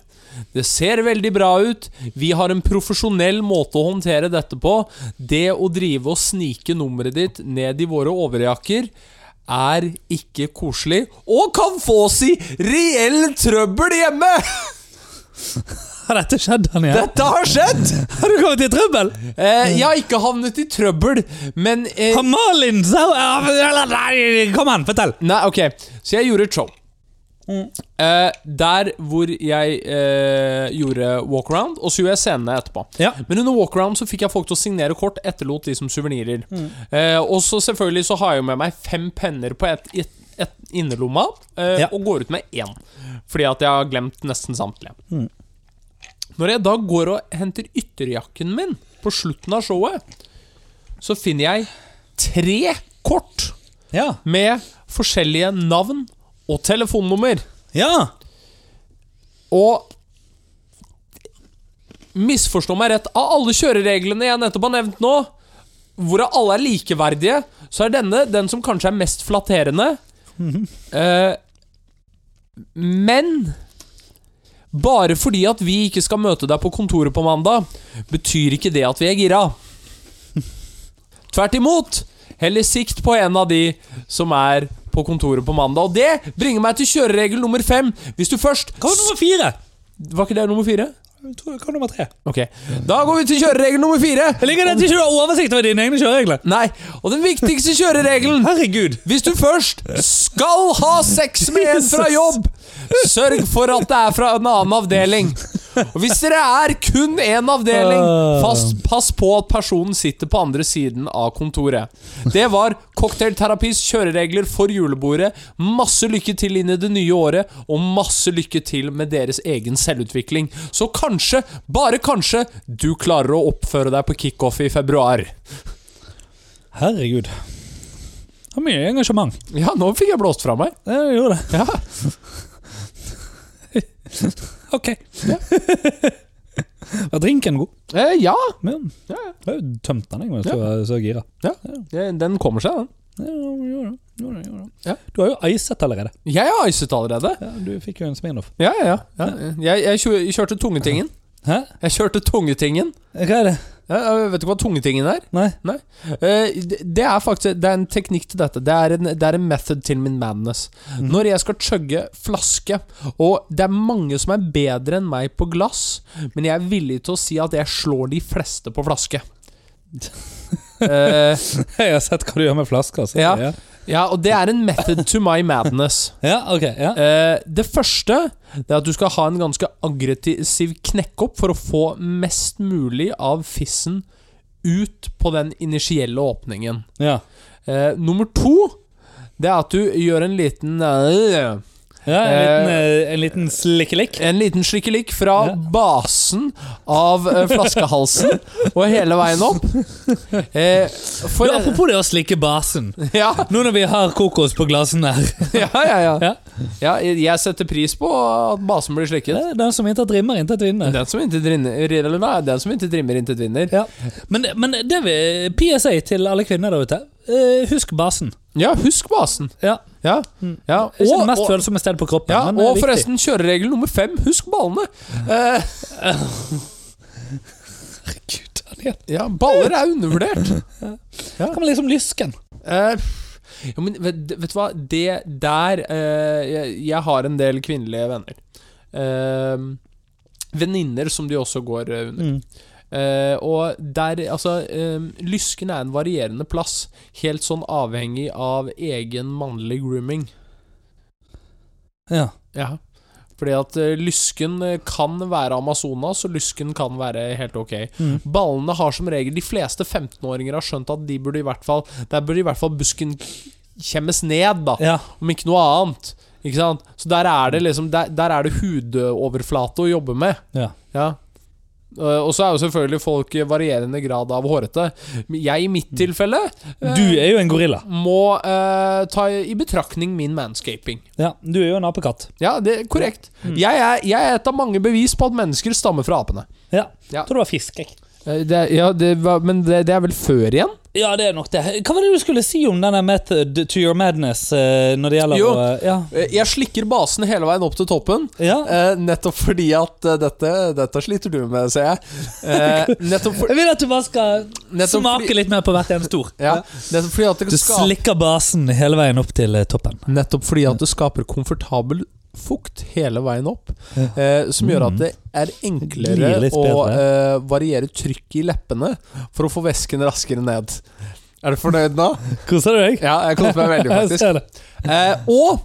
Det ser veldig bra ut. Vi har en profesjonell måte å håndtere dette på. Det å drive og snike nummeret ditt ned i våre overjakker er ikke koselig, og kan få oss i reell trøbbel hjemme! Har dette skjedd, Daniel? Dette har skjedd! Har du kommet i trøbbel? Eh, jeg har ikke havnet i trøbbel, men eh, Har Malin så, ja, men- eller, Nei, kom an, fortell. Nei, ok. Så jeg gjorde et show. Mm. Eh, der hvor jeg eh, gjorde walkaround, og så gjorde jeg scenene etterpå. Ja. Men under walkaround så fikk jeg folk til å signere kort, etterlot de som suvenirer. Mm. Eh, og så selvfølgelig så har jeg jo med meg fem penner på et, et, et innerlomma, eh, Ja. og går ut med én. Fordi at jeg har glemt nesten samtlige. Mm. Når jeg da går og henter ytterjakken min på slutten av showet, så finner jeg tre kort Ja. med forskjellige navn og telefonnummer. Ja. Og misforstå meg rett, av alle kjørereglene jeg nettopp har nevnt nå, hvorav alle er likeverdige, så er denne den som kanskje er mest flatterende. Eh, men bare fordi at vi ikke skal møte deg på kontoret på mandag, betyr ikke det at vi er gira. Tvert imot. Heller sikt på en av de som er på kontoret på mandag. Og det bringer meg til kjøreregel nummer fem. Hvis du først Hva var nummer fire? var ikke det nummer fire? Jeg tror det var nummer tre. Ok. Da går vi til kjøreregel nummer fire. Jeg liker det at du ikke har oversikt over dine egne kjøreregler. Nei, og den viktigste kjøreregelen Herregud. Hvis du først skal ha sex med en fra jobb, sørg for at det er fra en annen avdeling. Og hvis dere er kun én avdeling, fast, pass på at personen sitter på andre siden av kontoret. Det var cocktailterapis kjøreregler for julebordet. Masse lykke til inn i det nye året, og masse lykke til med deres egen selvutvikling. Så kanskje, bare kanskje, du klarer å oppføre deg på kickoff i februar. Herregud. Det var mye engasjement. Ja, nå fikk jeg blåst fra meg. Ja, Jeg gjorde det. Ja. Ok. Var drinken god? Eh, ja. Men, Ja, ja. jeg har jo tømt den, jeg, men så, så gira. Det- Den kommer seg, den. Ja, gjorde det, gjorde det, gjorde det. Ja. Du har jo icet allerede. Jeg har icet allerede. Ja, du fikk jo en Smirnoff. Ja, ja, ja. Jeg, jeg kjø- kjørte tungetingen. Hæ? Jeg kjørte tungetingen. Hva er det? Ja, ja, vet du hva tungetingen er? Nei. Eh, det det er faktisk Det er en teknikk til dette. Det er en, det er en method til min madness. Når jeg skal chugge flaske, og det er mange som er bedre enn meg på glass, men jeg er villig til å si at jeg slår de fleste på flaske. Eh, Jeg har sett hva du gjør med flasker. Så, Ja. ja. ja, og det er en method to my madness. ja, ok. Ja. Eh, det første det er at du skal ha en ganske aggressiv knekkopp for å få mest mulig av fissen ut på den initielle åpningen. ja. Eh, nummer to det er at du gjør en liten eh, Ja, en liten, eh, en liten slikkelikk. En liten slikkelikk fra basen av eh, flaskehalsen og hele veien opp. Eh, for, Du, apropos det å slikke basen. ja, Nå når vi har kokos på glasen her ja, ja, ja. Ja. ja. Jeg setter pris på at basen blir Det slikket. er Den som intet rimmer, intet vinner. Den som intet rinner- rinner- nei, den som intet rimmer, intet vinner. Ja. Men, men det vi PSA til alle kvinner der ute. eh, Husk basen. Ja, husk basen. Ja. Ja. ja. Det er ikke det Og, mest og, følsomme sted på kroppen. ja, men det er og viktig. forresten, kjøreregel nummer fem, husk ballene. Eh, Herregud, Daniel. ja, baller er undervurdert. Kan man liksom lysken? Eh, jo, men vet, vet du hva, det der eh, jeg, jeg har en del kvinnelige venner. Eh, Venninner som de også går eh, under. Mm. Eh, og der, altså eh, Lysken er en varierende plass, helt sånn avhengig av egen mannlig grooming. Ja. Ja. Fordi at eh, lysken eh, kan være Amazonas, og lysken kan være helt ok. Mm. Ballene har som regel De fleste 15-åringer har skjønt at de burde i hvert fall Der burde i hvert fall busken kjemmes ned, da. ja. Om ikke noe annet. Ikke sant? Så der er det liksom Der, der er det hudoverflate å jobbe med. Ja. Ja. Eh, Og så er jo selvfølgelig folk i varierende grad av hårete. Men Jeg, i mitt tilfelle, eh, Mm. Du er jo en gorilla. må eh, ta i betraktning min manscaping. Ja, Du er jo en apekatt. Ja, det er korrekt. Jeg, er, jeg er et av mange bevis på at mennesker stammer fra apene. Ja. Ja. Tror du var fisk, jeg. Eh, Det, ja, det var, men det, det er vel før igjen? Ja, det er nok det. Hva var det du skulle si om denne method to your madness eh, når det gjelder Jo. å ja. Eh, Jeg slikker basen hele veien opp til toppen. ja. eh, nettopp fordi at eh, dette, dette sliter du med, ser jeg. Eh, nettopp, for, Jeg vil at du bare skal Nettopp smake fordi- litt mer på hvert eneste ord. ja, nettopp fordi at Du det skaper, slikker basen hele veien opp til eh, toppen. Nettopp fordi at det skaper komfortabel fukt hele veien opp. Ja. Eh, som gjør at det er enklere Glir litt å bedre. eh, variere trykket i leppene for å få væsken raskere ned. Er du fornøyd nå? Koser du deg? Ja, jeg koser meg veldig, Jeg faktisk. ser det. Eh, og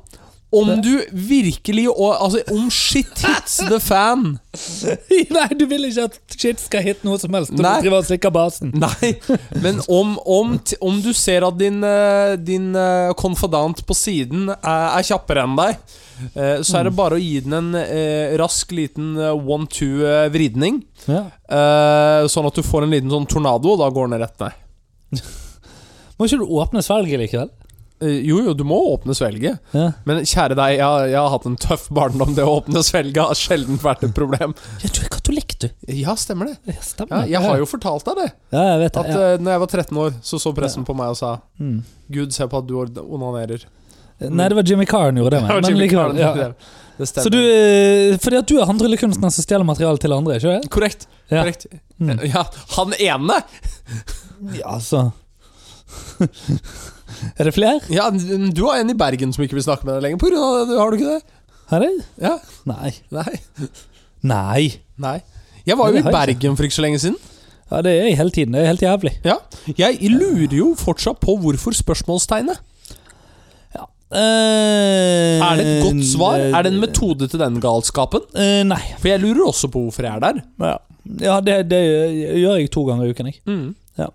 om du virkelig og, Altså, om shit hits the fan Nei, du vil ikke at shit skal hitte noe som helst. Og du Nei. driver og slikker basen. Nei, men om, om, t- om du ser at din, eh, din eh, konfidant på siden er, er kjappere enn deg, eh, så er det bare å gi den en eh, rask liten one-two-vridning. Ja. Eh, sånn at du får en liten sånn tornado, og da går den rett ned. Må ikke du åpne svelget likevel? Eh, jo, jo, du må åpne svelget. Ja. Men kjære deg, jeg, har- jeg har hatt en tøff barndom. Det å åpne svelget har sjelden vært et problem. ja, du er katolikk, du. Ja, stemmer det. Ja, Ja, stemmer. jeg har jo fortalt deg det. Ja, jeg vet det. At ja. eh, når jeg var 13 år, så så presten på meg og sa Mm. Gud, se på at du ord- onanerer. Nei, det var Jimmy Carr han gjorde det. Det med, var men mm. Jimmy likevel, Carlin. ja. Det Så stemmer. du, eh, fordi at du er han tryllekunstneren som stjeler materiale til andre, ikke det? Korrekt. Ja. korrekt. Mm. Ja, han ene! Ja, altså Er det flere? Ja, n- du har en i Bergen som ikke vil snakke med deg lenger. På grunn av det, du- har du ikke det? Er det? Ja, Nei. Nei. Nei. Nei. Jeg var Nei, jo det har i jeg Bergen for ikke så lenge siden. Ja, det er jeg hele tiden. Det er helt jævlig. Ja, Jeg lurer jo fortsatt på hvorfor spørsmålstegnet. Er det et godt svar? Er det en metode til den galskapen? Eh, nei. For jeg lurer også på hvorfor jeg er der. Ja, ja det, det gjør jeg to ganger i uken, jeg. Mm. Ja.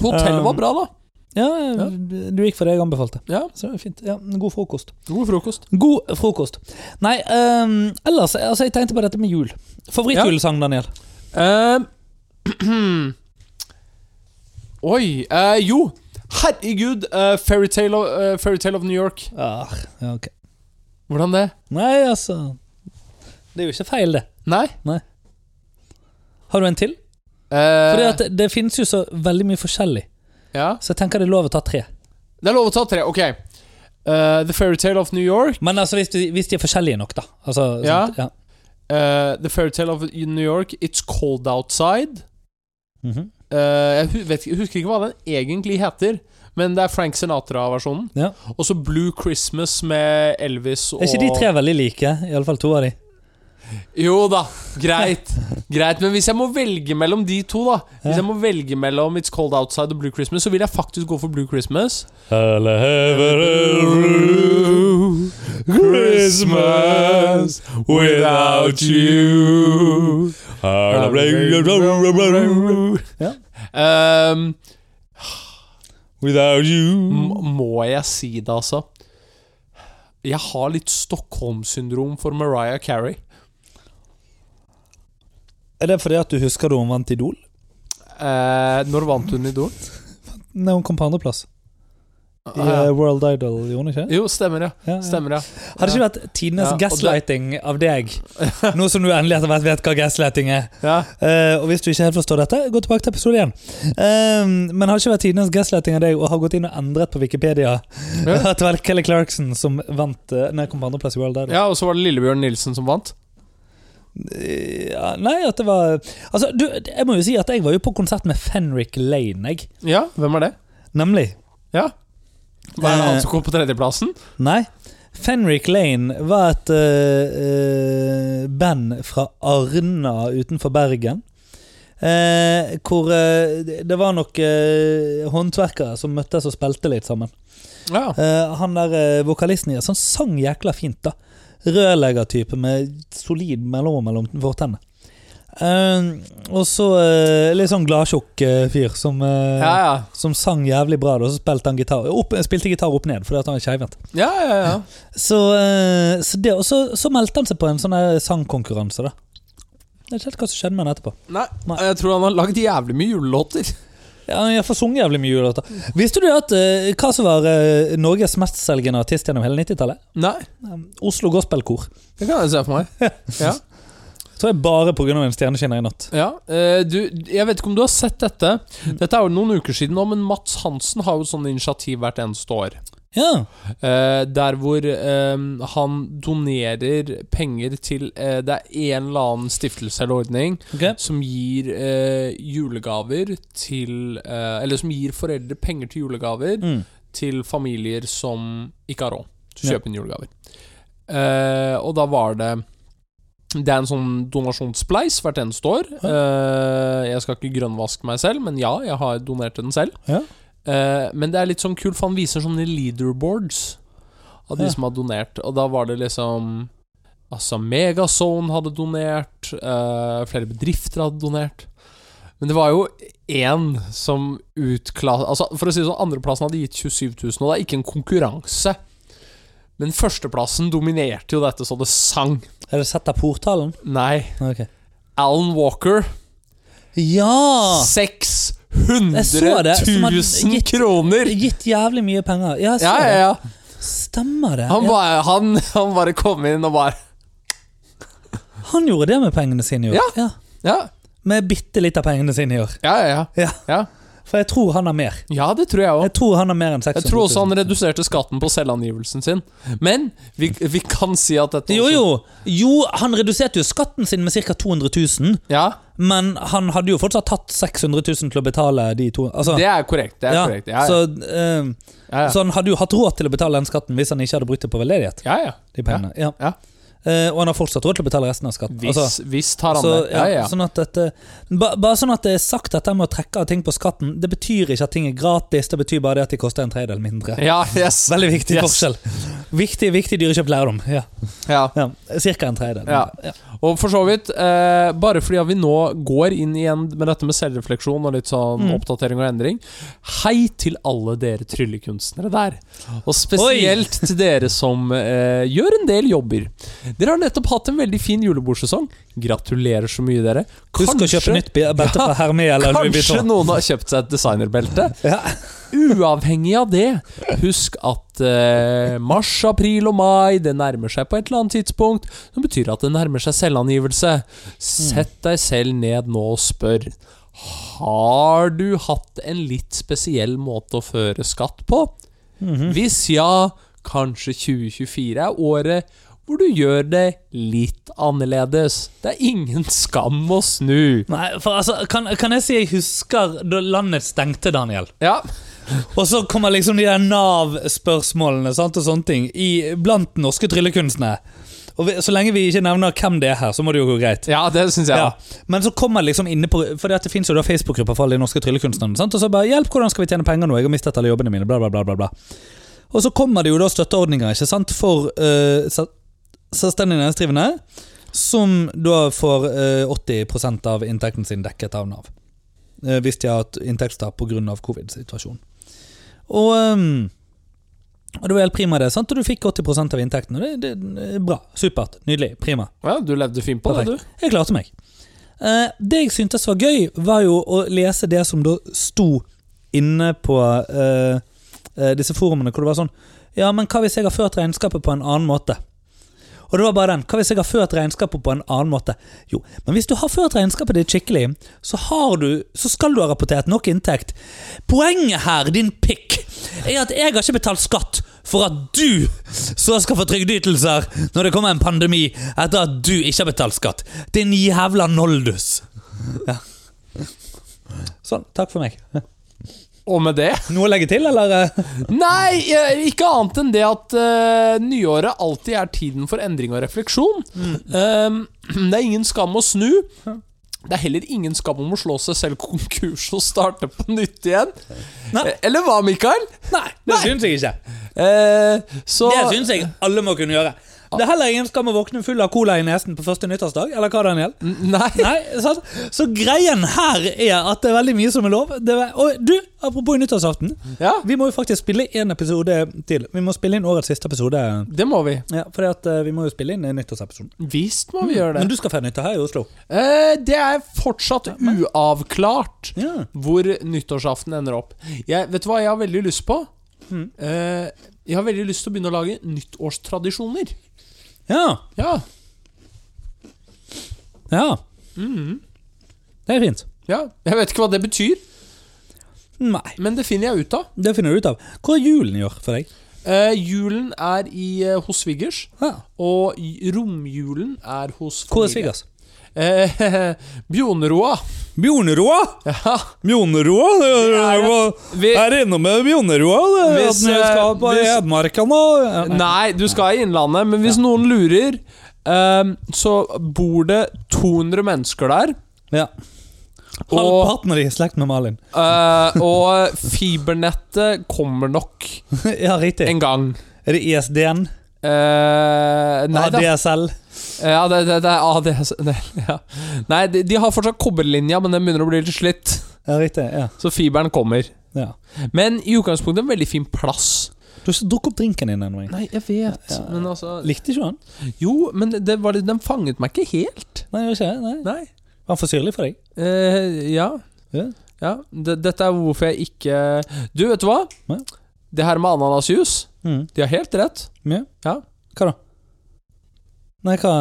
Um, Hotellet var bra, da. Ja, Ja. Du gikk for det jeg anbefalte. Ja, Så det er fint. Ja, god frokost. God frokost. God frokost. Nei, ehm, ellers altså, Jeg tenkte på dette med jul. Favorittjulesang, Daniel? Eh, Ehm, Oi eh, Jo, herregud, eh, Fairytale of, eh, Fairytale of New York. Ah, ja, ok. Hvordan det? Nei, altså Det er jo ikke feil, det. Nei? Har du en til? Eh, Fordi at det, det finnes jo så veldig mye forskjellig, ja. så jeg tenker det er lov å ta tre. Det er lov å ta tre. Ok. Eh, the Fairytale of New York. Men altså hvis de, hvis de er forskjellige nok, da. Altså, Ja. sant? ja. eh, the Fairytale of New York, It's Cold Outside. Mhm. Eh, jeg hu- vet, ikke- husker ikke hva den egentlig heter, men det er Frank Sinatra-versjonen. Ja. Og så Blue Christmas med Elvis og Er ikke de tre veldig like? Iallfall to av de. Jo da, greit. greit Men hvis jeg må velge mellom de to, da Ja. Hvis jeg må velge mellom It's Cold Outside og Blue Christmas, så vil jeg faktisk gå for Blue Christmas. Christmas without you. Ja. Um, Without m- you må jeg si det, altså? Jeg har litt Stockholm-syndrom for Mariah Carey. Er det fordi at du husker da hun vant Idol? Eh, når vant hun Idol? Nei, hun kom på andreplass. I Ah, eh, ja. World Idol, gjorde hun ikke? Jo, stemmer, ja. Ja, ja. Stemmer, ja. Hadde ikke vært tidenes Ja, og det- gaslighting av deg, nå som du endelig etter hvert vet hva gaslighting er. ja. Eh, og hvis du ikke helt forstår dette, gå tilbake til episode 1. men har det ikke vært tidenes gaslighting av deg og har gått inn og endret på Wikipedia Ja. at det var Kelly Clarkson som vant uh, Nei, kom på andreplass i World Idol? ja, og så var det Lillebjørn Nilsen som vant. Ja, nei, at det var Altså, du, jeg må jo si at jeg var jo på konsert med Fenrik Lane, jeg. Ja, hvem er det? Nemlig. Ja. Hva er det Eh. han som kom på tredjeplassen? Nei. Fenrik Lane var et eh, eh, band fra Arna utenfor Bergen. Eh, hvor eh, det- det var nok eh, håndverkere som møttes og spilte litt sammen. Ja. Eh, han der eh, vokalisten i det, så han sang jækla fint, da. Rørleggertype med solid mellomrom mellom fortennene. Eh, og så eh, litt sånn gladtjukk eh, fyr som, eh, Ja, ja. som sang jævlig bra, da, og så spilte han gitar opp, spilte gitar opp ned fordi at han er keivhendt. Ja, ja, ja. Så, eh, så, det, og så, så meldte han seg på en sånn her sangkonkurranse, da. Jeg vet ikke helt hva som skjedde med han etterpå. Nei, Nei. jeg tror han har lagd jævlig mye julelåter. Ja, jeg får sunget jævlig mye julelåter. Visste du at eh, hva som var eh, Norges mestselgende artist gjennom hele 90-tallet? Nei, Um, Oslo Gospelkor. det kan jeg se for meg. Ja. Tror jeg bare pga. en stjerneskinner i natt. Ja, eh, du, jeg vet ikke om du har sett dette. Dette er jo noen uker siden nå, men Mats Hansen har jo et sånt initiativ hvert eneste år. Ja, Eh, der hvor eh, han donerer penger til eh, Det er en eller annen stiftelse eller ordning ok. som gir eh, julegaver til eh, Eller som gir foreldre penger til julegaver Mm. til familier som ikke har råd til å Ja. kjøpe inn julegaver. Eh, og da var det Det er en sånn donasjonsspleis hvert eneste år. Eh, jeg skal ikke grønnvaske meg selv, men ja, jeg har donert til den selv. Ja. Eh, men det er litt sånn kult, for han viser sånne leaderboards av de Ja. som har donert. Og da var det liksom Altså, Megazone hadde donert, eh, flere bedrifter hadde donert. Men det var jo én som utklasse... Altså, for å si det sånn, andreplassen hadde gitt 27 000, og det er ikke en konkurranse. Men førsteplassen dominerte jo dette så det sang. Er det sett av portalen? Nei. Ok. Alan Walker. Ja! 600 Jeg så det, som hadde 000 gitt- kroner! Gitt jævlig mye penger. Ja, jeg så Ja, ja, ja. det. Stemmer det. Han Ja. bare, han, han bare kom inn og bare han gjorde det med pengene sine i år. Ja. Ja, Med bitte litt av pengene sine i år. ja, ja. Ja. Ja, For jeg tror han har mer. ja det tror jeg òg. Jeg tror han har mer enn 600 Jeg tror også 000. han reduserte skatten på selvangivelsen sin. Men vi, vi kan si at dette Jo, også- jo. jo, han reduserte jo skatten sin med ca. 200 000. Ja, Men han hadde jo fortsatt tatt 600 000 til å betale de to altså, det er korrekt. Det er ja, korrekt. Ja, ja. Så, eh, ja, ja. så han hadde jo hatt råd til å betale den skatten hvis han ikke hadde brukt det på veldedighet. ja, ja. De pengene. Ja. Ja. Eh, og han har fortsatt råd til å betale resten av skatten. Hvis, Altså, hvis tar han så, det. ja, Ja, ja. Sånn at dette, ba, bare sånn at det er sagt dette med å trekke av ting på skatten, det betyr ikke at ting er gratis, det betyr bare det at de koster en tredjedel mindre. ja yes. Veldig viktig Yes. forskjell. Viktig, viktig dyrekjøpt lærdom. Ja. Ja. Ja. Cirka en tredjedel. Ja. Ja. Og for så vidt, eh, bare fordi at vi nå går inn igjen med dette med selvrefleksjon og litt sånn Mm. oppdatering og endring Hei til alle dere tryllekunstnere der. Og spesielt til dere som eh, gjør en del jobber. Dere har nettopp hatt en veldig fin julebordsesong. Gratulerer så mye, dere. Husk å kjøpe nytt be- belte Ja, fra Hermé eller Louis Kanskje Vuitton. noen har kjøpt seg et designerbelte. Ja. Uavhengig av det, husk at eh, mars, april og mai Det nærmer seg på et eller annet tidspunkt. Som betyr at det nærmer seg selvangivelse. Sett deg selv ned nå og spør. Har du hatt en litt spesiell måte å føre skatt på? Hvis ja, kanskje 2024 er året hvor du gjør det litt annerledes. Det er ingen skam å snu. Nei, for altså, kan, kan jeg si jeg husker da landet stengte, Daniel? Ja, Og så kommer liksom de der Nav-spørsmålene sant, og sånne ting i, blant norske tryllekunstnere. Og vi, så lenge vi ikke nevner hvem det er her, så må det jo gå greit. ja det syns jeg. Ja. Men så kommer liksom inne på For det, at det finnes jo da Facebook-grupper for alle de norske tryllekunstnerne. Sant? Og så bare 'Hjelp, hvordan skal vi tjene penger nå? Jeg har mistet alle jobbene mine.' Bla, bla, bla. bla, bla. Og så kommer det jo da støtteordninger ikke sant? for eh, se- selvstendig næringsdrivende, som da får eh, 80 av inntekten sin dekket av Nav. Eh, hvis de har hatt inntektstap pga. covid-situasjonen. Og ehm, Og det var helt prima, det. sant? Og du fikk 80 av inntekten. Og det, det er bra. Supert. Nydelig. Prima. Ja, du levde fint på det, du. Perfekt. Jeg klarte meg. Eh, det jeg syntes var gøy, var jo å lese det som da sto inne på eh, eh, disse forumene, hvor det var sånn Ja, men hva hvis jeg har ført regnskapet på en annen måte? Og det var bare den. Hva hvis jeg har ført regnskapet på en annen måte? Jo, men hvis du har ført regnskapet ditt skikkelig, så, har du, så skal du ha rapportert nok inntekt. Poenget her, din pikk, er at jeg har ikke betalt skatt for at du så skal få trygdeytelser når det kommer en pandemi etter at du ikke har betalt skatt. Din jævla noldus. Ja. Sånn. Takk for meg. Og med det Noe å legge til, eller? Nei, eh, ikke annet enn det at eh, nyåret alltid er tiden for endring og refleksjon. Mm. Eh, det er ingen skam å snu. Det er heller ingen skam om å slå seg selv konkurs og starte på nytt igjen. Nei. Eh, Eller hva, Mikael? Nei, det syns jeg ikke. Eh, så Det syns jeg alle må kunne gjøre. Det er heller ingen skam å våkne full av cola i nesen på første nyttårsdag. Eller hva, Daniel? Mm. Nei. Nei, sant? Så greien her er at det er veldig mye som er lov. Det er, og du, apropos nyttårsaften. Ja, Vi må jo faktisk spille en episode til. Vi må spille inn årets siste episode. det må vi. Ja, fordi at eh, vi må jo spille inn en nyttårsepisode. Visst må vi gjøre Mm. Men det. du skal feire nyttår her i Oslo. Eh, det er fortsatt uavklart. Ja. hvor nyttårsaften ender opp. Jeg, vet du hva jeg har veldig lyst på? Eh, jeg har veldig lyst til å begynne å lage nyttårstradisjoner. Ja. Ja, ja. Det er fint. ja. Jeg vet ikke hva det betyr, Nei, men det finner jeg ut av. det finner du ut av. Hva er julen i år for deg? Eh, julen er i, eh, hos svigers, Ja. og j- romjulen er hos Hvor er familie. svigers? Eh, Bjoneroa. Bjoneroa! Ja. Bjoneroa? Det er jo- Vi, er inne med Bjoneroa. er Hvis, at vi skal på eh, hvis- Edmarka nå. nei, du skal i Innlandet, men hvis noen lurer, eh, så bor det 200 mennesker der. Ja. Halvparten av de er i slekt med Malin. Eh, og fibernettet kommer nok ja, riktig. en gang. Er det ISD-en? Eh, nei da. ADSL? Ja, det, det, det er ADS Nei, ja. nei de, de har fortsatt kobberlinja, men den begynner å bli litt slitt. Ja, riktig. Ja. Så fiberen kommer. ja. Men i utgangspunktet en veldig fin plass. Du har ikke drukket opp drinken din ennå. jeg. Nei, jeg vet, men altså Likte ikke han? Jo, men det var, det- den fanget meg ikke helt. Nei, gjør ikke det? Nei. Nei. Var han for syrlig for deg? Eh, ja. Ja. ja. D dette er hvorfor jeg ikke Du, vet du hva? Nei. Det her med ananasjus, Mm. de har helt rett. Ja. Ja. Hva da? Nei, hva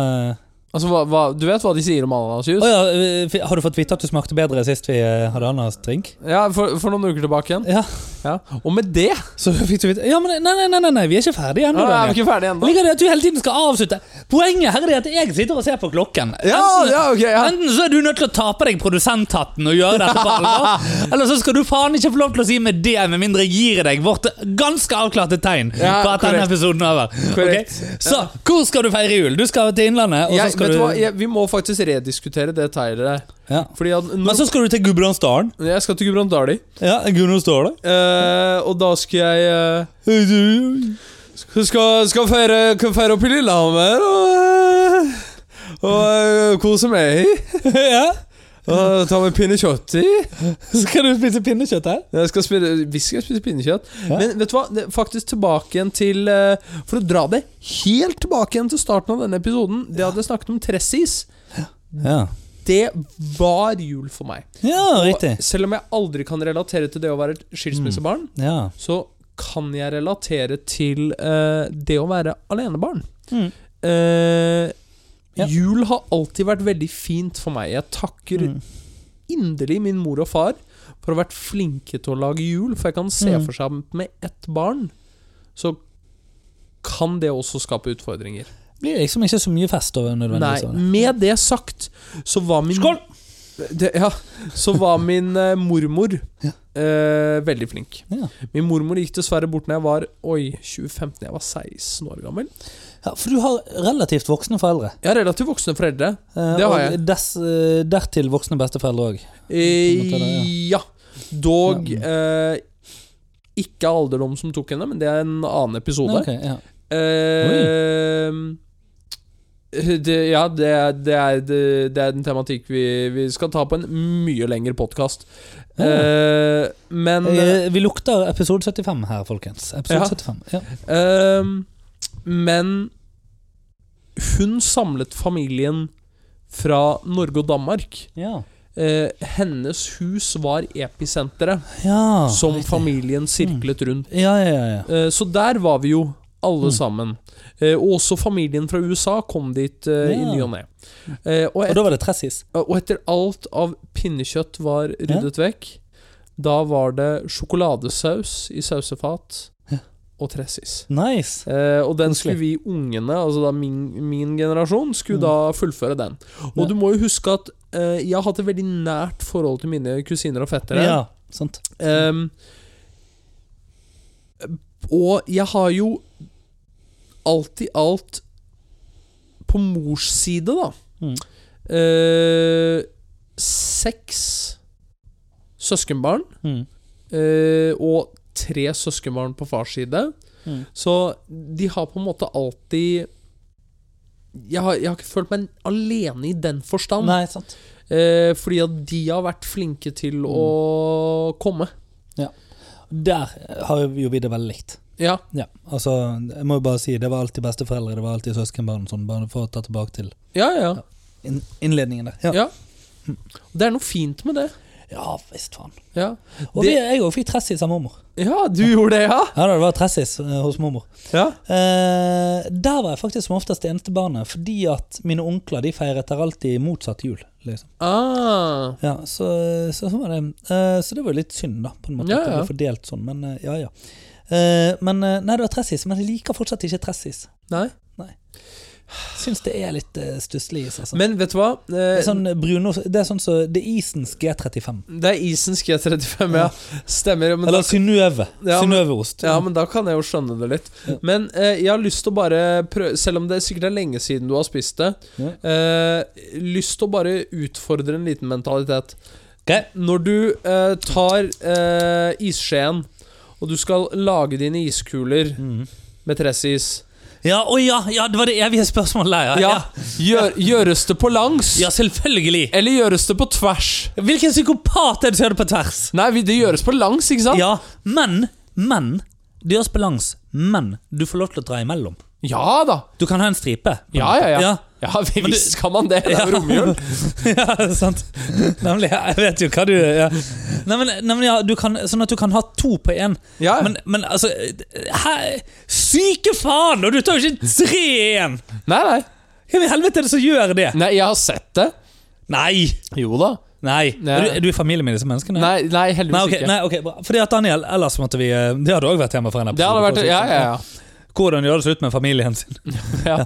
Altså, hva, hva, Du vet hva de sier om Å ananasjus? ja, eh, fi- har du fått vite at du smakte bedre sist vi eh, hadde Annas drink? Ja, for, for noen uker tilbake igjen. Ja. Ja. Og med det Så fikk du vite Ja, men nei, nei, nei, nei, nei vi er ikke ferdige ennå. Nå er Daniel. vi ikke ferdige ennå. Ligger det at du hele tiden skal avslutte? Poenget her er det at jeg sitter og ser på klokken. Ja, Enten- ja, ok, ja. Enten så er du nødt til å ta på deg produsenthatten og gjøre dette på alvor, eller så skal du faen ikke få lov til å si med det, med mindre jeg gir deg vårt ganske avklarte tegn Ja, på at denne korrekt. episoden er over. Ok? Korrekt. Så hvor skal du feire jul? Du skal til Innlandet, og så Jeg, vet skal du hva, du jeg, vi må faktisk rediskutere det tegnet. ja. Fordi at Men når, så skal du til Gudbrandsdalen. Jeg skal til Gudbrandsdali, Ja, Gudbrandsdalen. eh, og da skal jeg eh, Skal, skal feire, kan feire opp i Lillehammer og, eh, og eh, kose meg. ja. Og ta med pinnekjøtt i. Så skal du spise pinnekjøtt her. Jeg skal spise, vi skal spise pinnekjøtt. Ja. Men vet du hva, det, faktisk tilbake igjen til eh, For å dra det helt tilbake igjen til starten av denne episoden. Det hadde jeg snakket om tressis. Ja, Det var jul for meg. ja Og riktig. Mm. selv om jeg aldri kan relatere til det å være et skilsmissebarn, Ja. så kan jeg relatere til eh, det å være alenebarn. Mm. Eh, Ja. Jul har alltid vært veldig fint for meg. Jeg takker Mm. inderlig min mor og far for å ha vært flinke til å lage jul, for jeg kan se Mm. for seg at med ett barn, så kan det også skape utfordringer. Blir liksom ikke så mye fest over Nei, nødvendigvis. altså. av det. med det sagt, så var min Skål! det, ja, så var min eh, mormor Ja. eh, veldig flink. Ja. Min mormor gikk dessverre bort når jeg var Oi, 2015. Jeg var 16 år gammel. Ja, for du har relativt voksne foreldre. Jeg har relativt voksne foreldre. Eh, Det har og jeg. Dess, eh, dertil voksne besteforeldre òg. Eh, På en måte, ja. Dog eh, ikke alderdom som tok henne, men det er en annen episode. ja. Eh, Ehm, Det, ja, det, er- det, er, det, det er en tematikk vi, vi skal ta på en mye lengre podkast. Ja. Eh, men Eh, Vi lukter episode 75 her, folkens. Episode Ja. 75. Ja. eh, Men hun samlet familien fra Norge og Danmark. Ja. Eh, hennes hus var episenteret Ja. som riktig. familien sirklet rundt. Ja, ja, ja. ja. Eh, Så der var vi jo alle Mm. sammen. Eh, Og også familien fra USA kom dit eh, i Ja. ny og ne. Eh, Og, Og et, da var det tressis. og etter alt av pinnekjøtt var ryddet vekk, da var det sjokoladesaus i sausefat Ja. og tressis. Nice. Eh, og den Koselig. skulle vi ungene, altså da min, min generasjon, skulle Mm. da fullføre den. Og Ja. du må jo huske at eh, jeg har hatt et veldig nært forhold til mine kusiner og fettere. Ja, sant. Ehm, og jeg har jo alt i alt På mors side, da Mm. eh, Seks søskenbarn Mm. eh, og tre søskenbarn på fars side. Mm. Så de har på en måte alltid jeg har, jeg har ikke følt meg alene i den forstand. Nei, sant. Eh, fordi at de har vært flinke Mm. til å komme. Der eh, har jo vi det veldig likt. Ja. Ja, altså, jeg må jo bare si, det var alltid besteforeldre, det var alltid søskenbarn og sånn, bare for å ta tilbake til Ja, ja. inn- innledningen der. Ja, ja. Det er noe fint med det. ja visst faen. Ja, Og vi, Det- jeg òg fikk tressis av mormor. ja du gjorde det, ja? Ja, da, det var tressis eh, hos mormor. Ja. Eh, der var jeg faktisk som oftest det eneste barnet, fordi at mine onkler de feiret der alltid motsatt jul. liksom. Ah. Ja, Så, så, sånn var det. Eh, så det var jo litt synd, da, på en måte, Ja, at det ja. ble fordelt sånn, men eh, ja, ja. Eh, men eh, nei, det var tressis, men jeg liker fortsatt ikke tressis. Nei. Syns det er litt uh, stusslig is, altså. Men vet du hva? Det Eh, er sånn Bruno, det er sånn som Det er Isens G35. Det er isens G35, ja. Stemmer. Men da, Eller Synnøve. Ja, men- Synnøveost. Mm. ja, men da kan jeg jo skjønne det litt. Men eh, jeg har lyst til å bare prøve Selv om det sikkert er lenge siden du har spist det, Ja. eh, lyst til å bare utfordre en liten mentalitet. Ok. Når du eh, tar eh, isskjeen, og du skal lage dine iskuler Mhm. med tressis Ja, å ja, ja, det var det evige spørsmålet der. Ja, Ja. ja. Gjør, gjøres det på langs? ja, selvfølgelig. Eller gjøres det på tvers? Hvilken psykopat er det som gjør det på tvers? Nei, vi- det gjøres på langs, ikke sant? Ja, men, men Det gjøres på langs, men du får lov til å dra imellom. Ja da. Du kan ha en stripe. Ja, ja, ja. ja. Ja, vi- Men visst kan man det. Det er jo romjul. ja, sant. Nemlig. ja, Jeg vet jo hva du ja. Nei, men, nei, men ja, du kan, Sånn at du kan ha to på én. Ja. Men, men altså hæ? Syke faen! Og du tar jo ikke tre i én! Nei, nei. Hvem i helvete er det som gjør det? Nei, jeg har sett det. Nei! Jo da. Nei. Nei. Er, du, er du i familie med disse menneskene? Nei, nei heldigvis Nei, ok, ikke. nei, ok, bra. Fordi at Daniel, ellers måtte vi eh, Det hadde òg vært tema for en Det episode. hadde for vært å si Ja, det ja, ja. sånn. Hvordan gjøre det slutt med familien sin. Ja,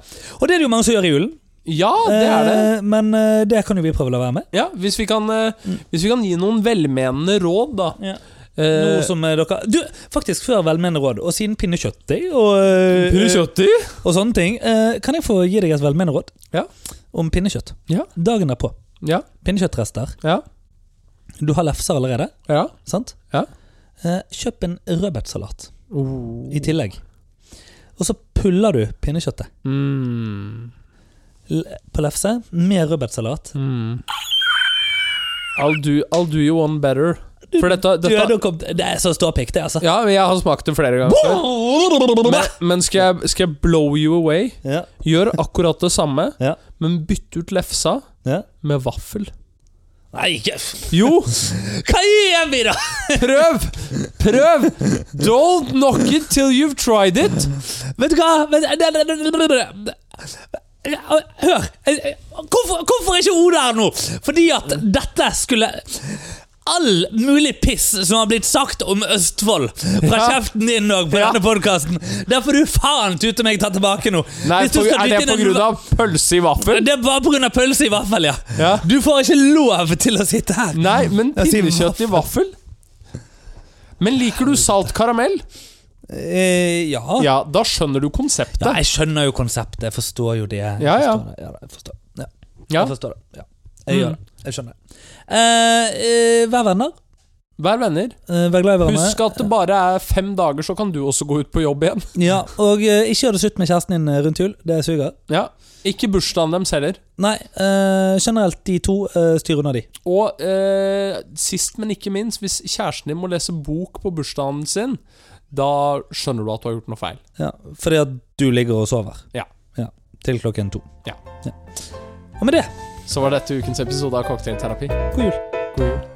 Og det er det jo mange som gjør i julen. ja det er det. Eh, Men eh, det kan jo vi prøve å la være med. Ja, hvis vi kan, eh, Mm. hvis vi kan gi noen velmenende råd, da. Ja. Eh, Noe som eh, dere Du, faktisk før velmenende råd, og siden pinnekjøttdeig og, eh, eh, og sånne ting, eh, kan jeg få gi deg et velmenende råd Ja. om pinnekjøtt? Ja. Dagen derpå. Ja, Pinnekjøttrester. ja, Du har lefser allerede, ja. sant? Ja. Eh, Kjøp en rødbetsalat Oh. i tillegg. Og så puller du pinnekjøttet Mm. l- på lefse med rødbetsalat. Mm. I'll, do, I'll do you one better. For dette, Du, dette da kom- det er så ståpikk, det, altså. Ja, men jeg har smakt det flere ganger. før. Men, men skal, jeg, skal jeg blow you away? Ja, Gjør akkurat det samme, Ja. men bytt ut lefsa ja. med vaffel. Nei, ikke Jo, Hva gjør vi, da?! prøv! Prøv! Don't knock it till you've tried it. Vet du hva? Vet- det- det- det- det- det- det- Hør! Hvorfor, hvorfor er ikke Oda her nå? Fordi at dette skulle All mulig piss som har blitt sagt om Østfold fra Ja. kjeften din og på Ja. denne podkasten, der får du faen tute meg ta tilbake nå. Nei, Hvis du på, skal er det dytte på inn en- grunn av pølse i vaffel? Det er bare pga. pølse i vaffel, ja. Ja. Du får ikke lov til å sitte her. Nei, men Jeg sier pinnekjøtt i vaffel? Men liker du salt karamell? Eh, ja. ja. Ja, da skjønner du konseptet. Jeg skjønner jo konseptet. Jeg forstår jo det. Jeg Ja, ja. forstår det. ja da, jeg forstår. Ja. Ja. Jeg forstår det. Ja. Jeg Mm. gjør det. Jeg skjønner det. Eh, eh, vær venner. Vær venner. Eh, Vær glad i hverandre. Husk at det bare er fem dager, så kan du også gå ut på jobb igjen. Ja, og eh, ikke gjør det slutt med kjæresten din eh, rundt jul. Det suger. Ja. Ikke bursdagen deres heller. Nei, eh, generelt de to eh, styr unna de. Og eh, sist, men ikke minst, hvis kjæresten din må lese bok på bursdagen sin, da skjønner du at du har gjort noe feil. Ja, fordi at du ligger og sover. Ja. Til klokken to. Ja. Og med det, Så var dette ukens episode av Cocktailterapi. god jul. God jul.